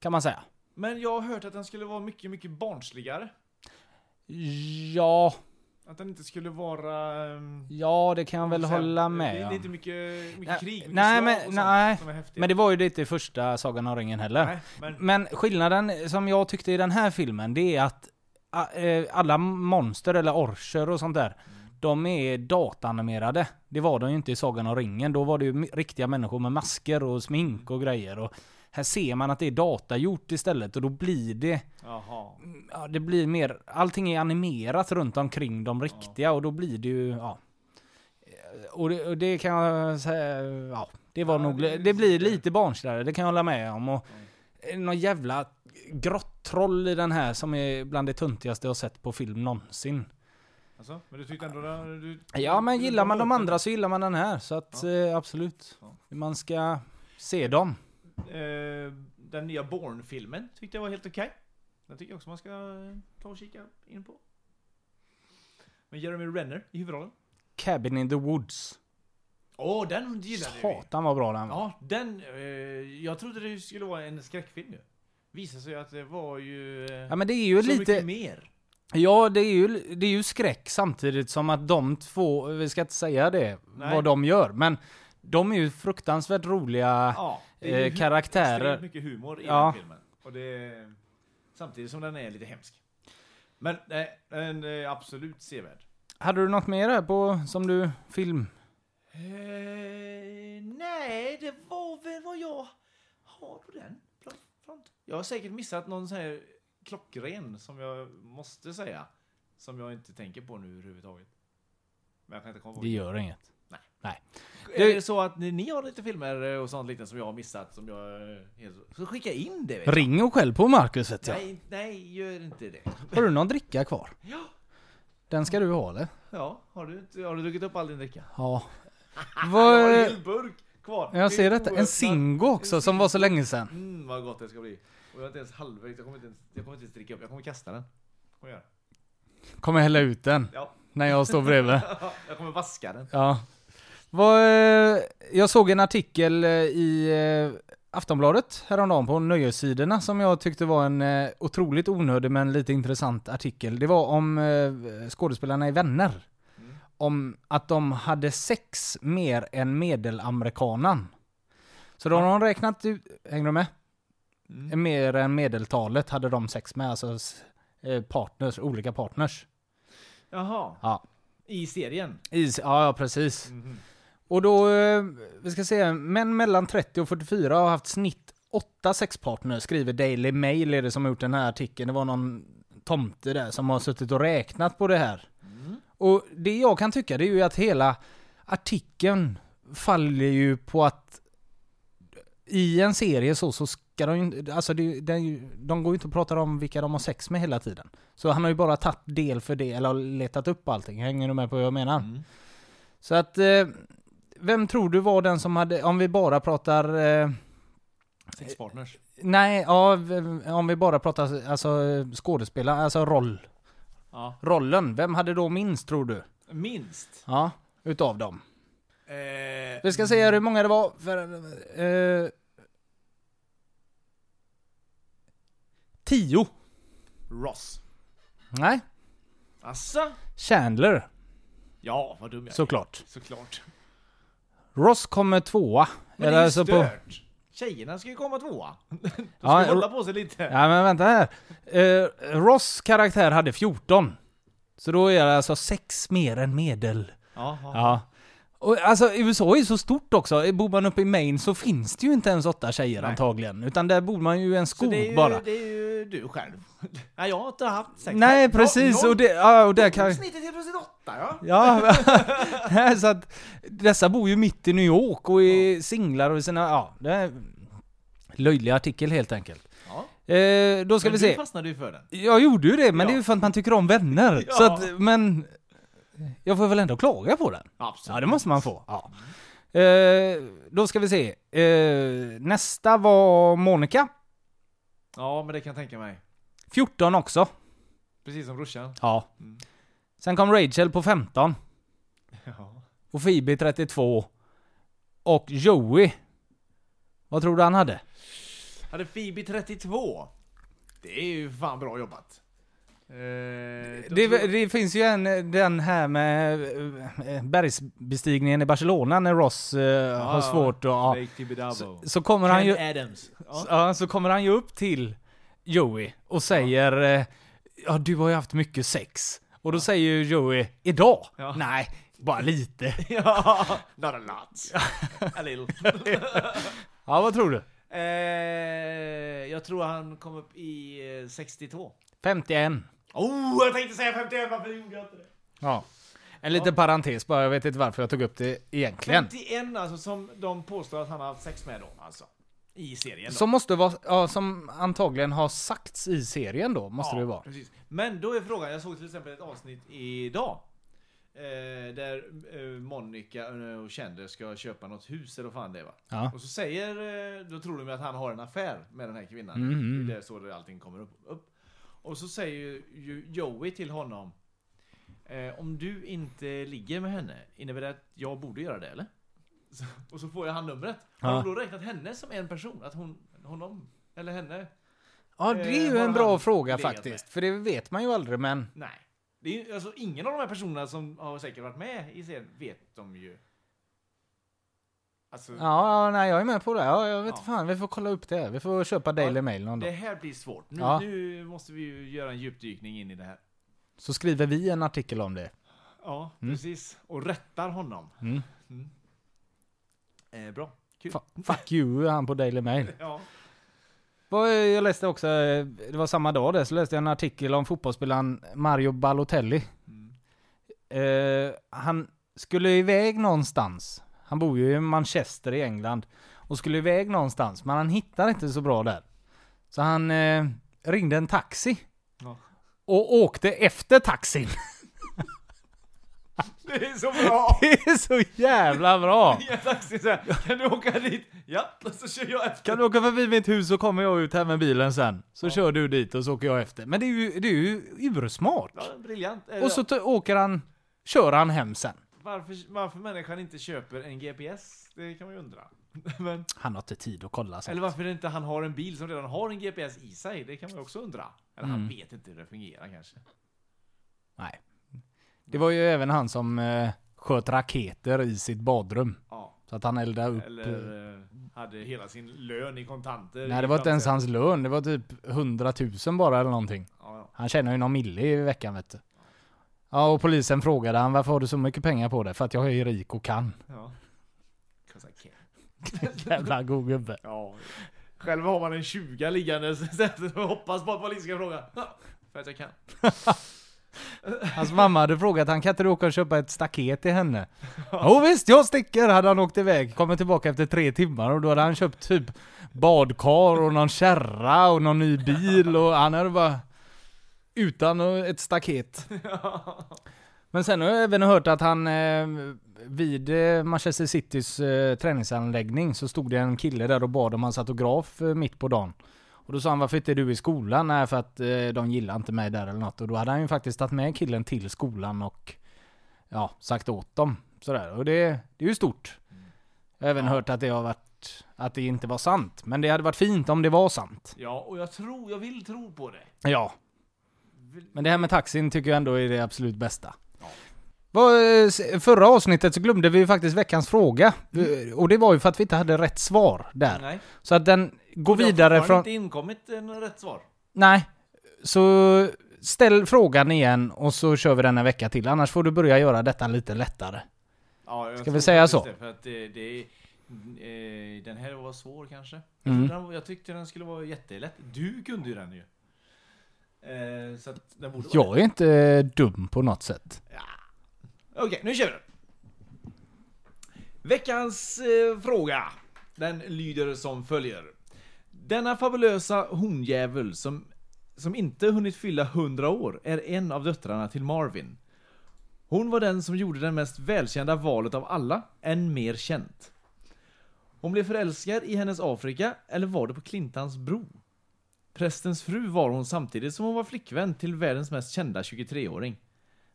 S4: Kan man säga.
S3: Men jag har hört att den skulle vara mycket, mycket barnsligare.
S4: Ja,
S3: Att den inte skulle vara... ehm,
S4: ja det kan jag väl
S3: Sen,
S4: hålla
S3: Det,
S4: med.
S3: det är
S4: ja.
S3: inte mycket, mycket
S4: Nej,
S3: krig, mycket
S4: nej,
S3: slag
S4: men,
S3: och sånt
S4: nej,
S3: som är häftigt.
S4: men det var ju lite i första Sagan om ringen heller.
S3: Nej, men-
S4: Men skillnaden som jag
S3: Mm.
S4: tyckte i den här filmen, det är att a- eh, alla monster eller orcher och sånt där, de är datanimerade. Det var de ju inte i Sagan om ringen. Då var det ju m- riktiga människor med masker och smink och grejer. Och här ser man att det är datagjort istället och då blir det...
S3: Jaha.
S4: Ja, det blir mer... Allting är animerat runt omkring de riktiga och då blir det ju... Ja. Eh, Och det, och det kan jag säga... Ja, det var nog...
S3: det är
S4: Det, blir lite barnsligare, det kan jag hålla med om. Och någon jävla grottroll i den här som är bland det tuntigaste jag har sett på film någonsin.
S3: Alltså, men du tyckte ändå den... Du,
S4: Ja men
S3: du-
S4: gillar man de
S3: du-
S4: andra så gillar man den här. Så att eh, absolut. Man ska se dem.
S3: Eh, den nya Bourne-filmen tyckte jag var helt okej. Den tycker jag också man ska eh, ta och kika in på. Med Jeremy Renner i huvudrollen.
S4: Cabin in the Woods.
S3: Åh, den gillade vi!
S4: Satan vad bra den var.
S3: Ja, den... Eh, jag trodde det skulle vara en skräckfilm ju. Visade sig att det var ju... Eh,
S4: Ja men det är ju
S3: så mycket
S4: lite,
S3: mer.
S4: ja det är ju, det är ju skräck samtidigt som att de två, vi ska inte säga det,
S3: Nej.
S4: vad de gör. Men de är ju fruktansvärt roliga.
S3: Ja,
S4: eh,
S3: hu-
S4: karaktärer.
S3: extremt mycket humor i
S4: Ja.
S3: den filmen. Och det, samtidigt som den är lite hemsk. Men eh, en eh, absolut sevärd.
S4: Hade du något mer här på, som du, film?
S3: Eh, nej, det var väl vad jag har på den pl- front. Jag har säkert missat någon sån här klockren som jag måste säga. Som jag inte tänker på nu överhuvudtaget. Men jag kan inte komma på
S4: Det gör inget.
S3: Nej.
S4: Nej.
S3: Är
S4: Det-
S3: det så att ni, ni har lite filmer eh, och sånt liknande som jag har missat som jag... eh, helt- Så skicka in det! Vet jag.
S4: Ring och skäll på Marcus vet jag.
S3: Nej, nej, gör inte det.
S4: Har du någon dricka kvar?
S3: Ja.
S4: Den ska du ha eller?
S3: Ja, har du, inte- har du druckit upp all din dricka?
S4: Ja.
S3: Jag har en
S4: Vad...
S3: hel burk kvar.
S4: eh, Jag ser
S3: Det är
S4: detta. En
S3: oöppnad.
S4: Singo också som var så länge sedan.
S3: Mm, vad gott det ska bli. Och jag är inte ens halvvägs, jag kommer inte ens, jag kommer inte ens dricka upp, jag kommer kasta den. Kommer jag göra.
S4: Kommer hälla ut den
S3: Ja,
S4: när jag står bredvid.
S3: jag kommer vaska den.
S4: Ja. Vad, eh, jag såg en artikel eh, i eh, Aftonbladet häromdagen på Nöjessidorna som jag tyckte var en eh, otroligt onödig men lite intressant artikel. Det var om eh, skådespelarna i Vänner. Om att de hade sex mer än medelamerikanen. Så då har de räknat ut, hänger du med? Mer än medeltalet hade de sex med, alltså s- eh, partners, olika partners.
S3: Jaha,
S4: Ja.
S3: i serien?
S4: Is, ja, ja, precis. Och då, eh, vi ska se, män mellan 30 och 44 har haft snitt åtta sexpartner, skriver Daily Mail är det som har gjort den här artikeln. Det var någon tomte där som har suttit och räknat på det här. Och det jag kan tycka det är ju att hela artikeln faller ju på att i en serie så, så ska de ju inte- alltså det, det, är ju- de går ju inte och pratar om vilka de har sex med hela tiden. Så han har ju bara tagit del för del, eller letat upp allting. Hänger du med på vad jag menar? Så att, eh, vem tror du var den som hade, om vi bara pratar, eh,
S3: Sex partners.
S4: nej, ja, v- om vi bara pratar alltså eh, skådespelare, alltså roll.
S3: Ja.
S4: Rollen, vem hade då minst tror du?
S3: Minst.
S4: Ja, utav dem.
S3: Eh,
S4: Vi ska se hur många det var. För, eh, tio.
S3: Ross.
S4: Nej,
S3: Asså?
S4: Chandler
S3: Ja, vad dum jag är.
S4: såklart.
S3: Såklart.
S4: Ross kommer tvåa. alltså
S3: Men det är ju stört. Tjejerna ska ju komma tvåa. De ska
S4: Ja,
S3: ju hålla på sig lite.
S4: Ja men vänta här. Eh, Ross karaktär hade 14. Så då är det alltså 6 mer än medel.
S3: Jaha.
S4: Ja. Och alltså USA är ju så stort också. Bor man uppe i Maine så finns det ju inte ens åtta tjejer antagligen. Utan där bor man ju i en
S3: Så
S4: skog
S3: det är, ju,
S4: bara.
S3: det är ju du själv. Nej, jag har inte haft sex.
S4: Nej
S3: No-
S4: precis,
S3: noll
S4: och, det, ja, och där kan...
S3: Snittet helt plötsligt åtta ja.
S4: Ja, Nej, så att dessa bor ju mitt i New York och är singlar och sina, ja, det är en löjlig artikel helt enkelt. Eh, då ska vi
S3: Men du
S4: se.
S3: fastnade ju för den.
S4: Jag gjorde ju det, men
S3: Ja.
S4: det är ju för att man tycker om vänner.
S3: Ja.
S4: Så att, men... Jag får väl ändå klaga på den?
S3: Absolut.
S4: Ja, det måste man få. Ja. Eh, då ska vi se. Eh, nästa var Monica.
S3: Ja, men det kan jag tänka mig.
S4: 14 också.
S3: Precis som brorsan.
S4: Ja. Sen kom Rachel på 15.
S3: Ja.
S4: Och Phoebe 32. Och Joey. Vad tror du han hade?
S3: Hade Phoebe 32? Det är ju fan bra jobbat. Eh, då
S4: Det,
S3: tror jag-
S4: det finns ju en, den här med eh, bergsbestigningen i Barcelona när Ross eh, har svårt att... Ja.
S3: Lake Tibidabo.
S4: Så kommer han ju...
S3: Ken Adams. Ja.
S4: Ja, så kommer han ju eh, upp till Joey och säger ja. ja, du har ju haft mycket sex. Och Och då säger ju Joey, idag?
S3: Ja.
S4: Nej, bara lite.
S3: Ja, not a lot. A little.
S4: Ja, vad tror du?
S3: Eh, jag tror han kom upp i eh, 62.
S4: 51.
S3: Oh, jag tänkte säga 51, varför gjorde jag inte det?
S4: Ja. En liten parentes bara, jag vet inte varför jag tog upp det egentligen.
S3: 51 alltså, som de påstår att han har haft sex med då, alltså. I serien då.
S4: Som måste vara, ja, som antagligen har sagts i serien då, måste det vara.
S3: Precis. Men då är frågan, jag såg till exempel ett avsnitt idag. Eh, där eh, Monica eh, och Chandler ska köpa något hus eller vad fan det är va?
S4: Ja.
S3: Och så säger, eh, då tror de ju att han har en affär med den här kvinnan.
S4: Mm.
S3: Det är så det allting kommer upp. upp. Och så säger ju- ju Joey till honom. Eh, om du inte ligger med henne, innebär det att jag borde göra det eller? Så, och så får jag han numret. Har
S4: Ja.
S3: de då räknat henne som en person? Att hon, honom, eller henne?
S4: Ja, det är
S3: Eh,
S4: ju
S3: har
S4: en bra
S3: han
S4: fråga
S3: legat
S4: faktiskt. För det vet man ju aldrig, men
S3: Nej. Det är ju, alltså, ingen av de här personerna som har säkert varit med i serien vet de ju. Alltså,
S4: ja, ja, nej, jag är med på det. Ja, jag vet
S3: Ja.
S4: fan, vi får kolla upp det. här. Vi får köpa Daily Mail någon
S3: det
S4: dag.
S3: här blir svårt. Nu,
S4: Ja.
S3: nu måste vi ju göra en djupdykning in i det här.
S4: Så skriver vi en artikel om det.
S3: Ja, precis. Och rättar honom.
S4: Mm.
S3: Mm. Eh, bra. Kul.
S4: Fa- fuck you, han på Daily Mail.
S3: Ja.
S4: Vad, eh, Jag läste också, eh, det var samma dag där, så läste jag en artikel om fotbollsspelaren Mario Balotelli. Eh, han skulle iväg någonstans. Han bor ju i Manchester i England. Och skulle iväg någonstans, men han hittar inte så bra där. Så han eh, ringde en taxi.
S3: Ja.
S4: Och åkte efter taxin.
S3: Det är så bra!
S4: Det är så jävla bra!
S3: I en taxi så här, kan du åka dit? Ja, och så kör jag efter.
S4: Kan du åka förbi mitt hus så kommer jag ut här med bilen sen. Så kör du dit och så åker jag efter. Men det är ju, det är ju ursmart.
S3: Ja, briljant. Eh,
S4: Och så t- åker han, kör han hem sen.
S3: varför, varför människan inte köper en GPS? Det kan man ju undra. Men...
S4: Han har inte tid att kolla sen.
S3: Eller varför inte han har en bil som redan har en GPS i sig, det kan man ju också undra. Eller
S4: Mm.
S3: han vet inte hur det fungerar kanske.
S4: Nej. Det var ju även han som eh, sköt raketer i sitt badrum.
S3: Ja.
S4: Så att han eldade upp... eh,
S3: Eller eh, hade hela sin lön i kontanter.
S4: nej,
S3: i
S4: det var inte ens
S3: framtiden.
S4: hans lön. Det var typ 100 000 bara eller någonting.
S3: Ja,
S4: Han tjänar ju någon mille i veckan vet du. Ja, och polisen frågade han varför har du så mycket pengar på dig? För att jag är ju rik och kan.
S3: ja. ja. 'Cause I can.
S4: Jävla god gubbe.
S3: ja. Själv har man en 20 liggandes och hoppas på att polisen ska fråga. Ja, För att jag kan.
S4: Hans mamma hade frågat, han kan inte du åka och köpa ett staket till henne? Jo visst, jag sticker, hade han åkt iväg. Kommer tillbaka efter tre timmar och då hade han köpt typ badkar och någon kärra och någon ny bil och han hade bara... Utan ett staket. Men sen har jag även hört att han eh, vid eh, Manchester Citys eh, träningsanläggning så stod det en kille där och bad om hans autograf eh, mitt på dagen. Och då sa han varför inte är du i skolan? Nej för att eh, de gillar inte mig där eller något. Och då hade han ju faktiskt tagit med killen till skolan och ja, sagt åt dem. Sådär. Och det, det är ju stort. Jag har även hört att det har varit, att det inte var sant. Men det hade varit fint om det var sant.
S3: Ja, och jag tror, jag vill tro på det.
S4: Ja. Men det här med taxin tycker jag ändå är det absolut bästa. Vad, eh, s- Förra avsnittet så glömde vi ju faktiskt veckans fråga. Eh, Och det var ju för att vi inte hade rätt svar där.
S3: Mm. Nej.
S4: Så att den går
S3: Det har
S4: vidare
S3: fortfarande
S4: från...
S3: inte inkommit en rätt svar.
S4: Nej. Så ställ frågan igen och så kör vi den en vecka till. Annars får du börja göra detta lite lättare.
S3: Ja, jag
S4: Ska vi
S3: tror
S4: säga
S3: faktiskt
S4: så?
S3: Det, för att det, det, eh, den här var svår kanske.
S4: Mm.
S3: Jag, trodde den, jag tyckte den skulle vara jättelätt. Du kunde ju den ju. Eh, så att den borde vara
S4: Jag
S3: lätt.
S4: är inte dum på något sätt.
S3: Okej, nu kör vi den. Veckans eh, fråga. Den lyder som följer. Denna fabulösa honjävel som, som inte hunnit fylla 100 år är en av döttrarna till Marvin. Hon var den som gjorde det mest välkända valet av alla, än mer känt. Hon blev förälskad i hennes Afrika, eller var det på Clintans bro? Prästens fru var hon samtidigt som hon var flickvän till världens mest kända 23-åring.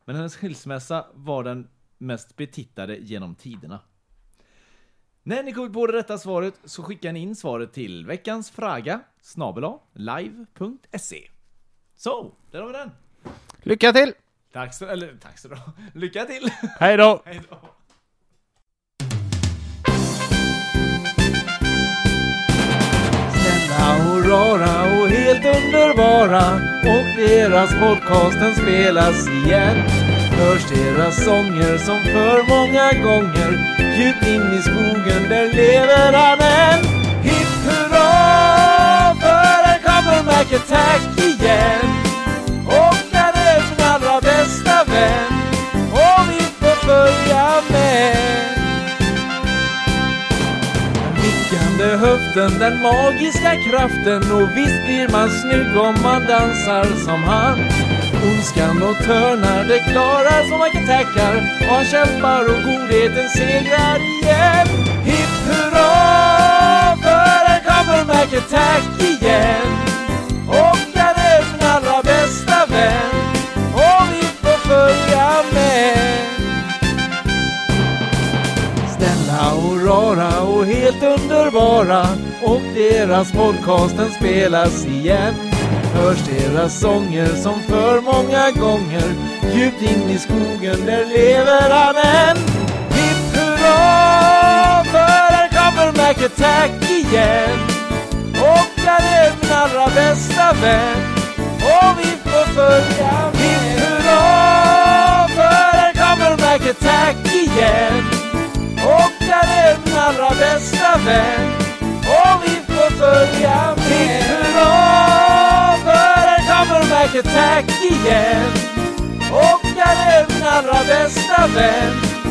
S3: Men hennes skilsmässa var den mest betittade genom tiderna. När ni kommit på det rätta svaret så skickar ni in svaret till veckans fraga snabela live.se. Så, där har vi den.
S4: Lycka till!
S3: Tack så, eller tack så bra. Lycka till!
S4: Hej då!
S3: Hej då.
S4: Snälla och rara och helt underbara
S3: får vara och deras podcasten spelas igen. Hörs deras sånger som för många gånger djupt in i skogen, där lever han än. Hipp hurra, för här kommer Mac Attack igen. Och den är min allra bästa vän, och vi får följa med. Nickande höften, den magiska kraften och visst blir man snygg om man dansar som han. Ondskan och törnar, det klarar som man kan tackar och han kämpar och godheten segrar igen. Hipp hurra, för här kommer Mac Attack igen. Och den är min allra bästa vän och vi får följa med. Snälla och rara och helt underbara och deras podcasten spelas igen. Hörs deras sånger som för många gånger djupt in i skogen, där lever han än. Hipp hurra, för här kommer Mac Attack igen. Och han är min allra bästa vän och vi får följa med. Hipp hurra, för här kommer Mac Attack igen. Och där är min allra bästa vän Och vi får följa med Hipp hurra, för här kommer Mac Attack igen Och där är min allra bästa vän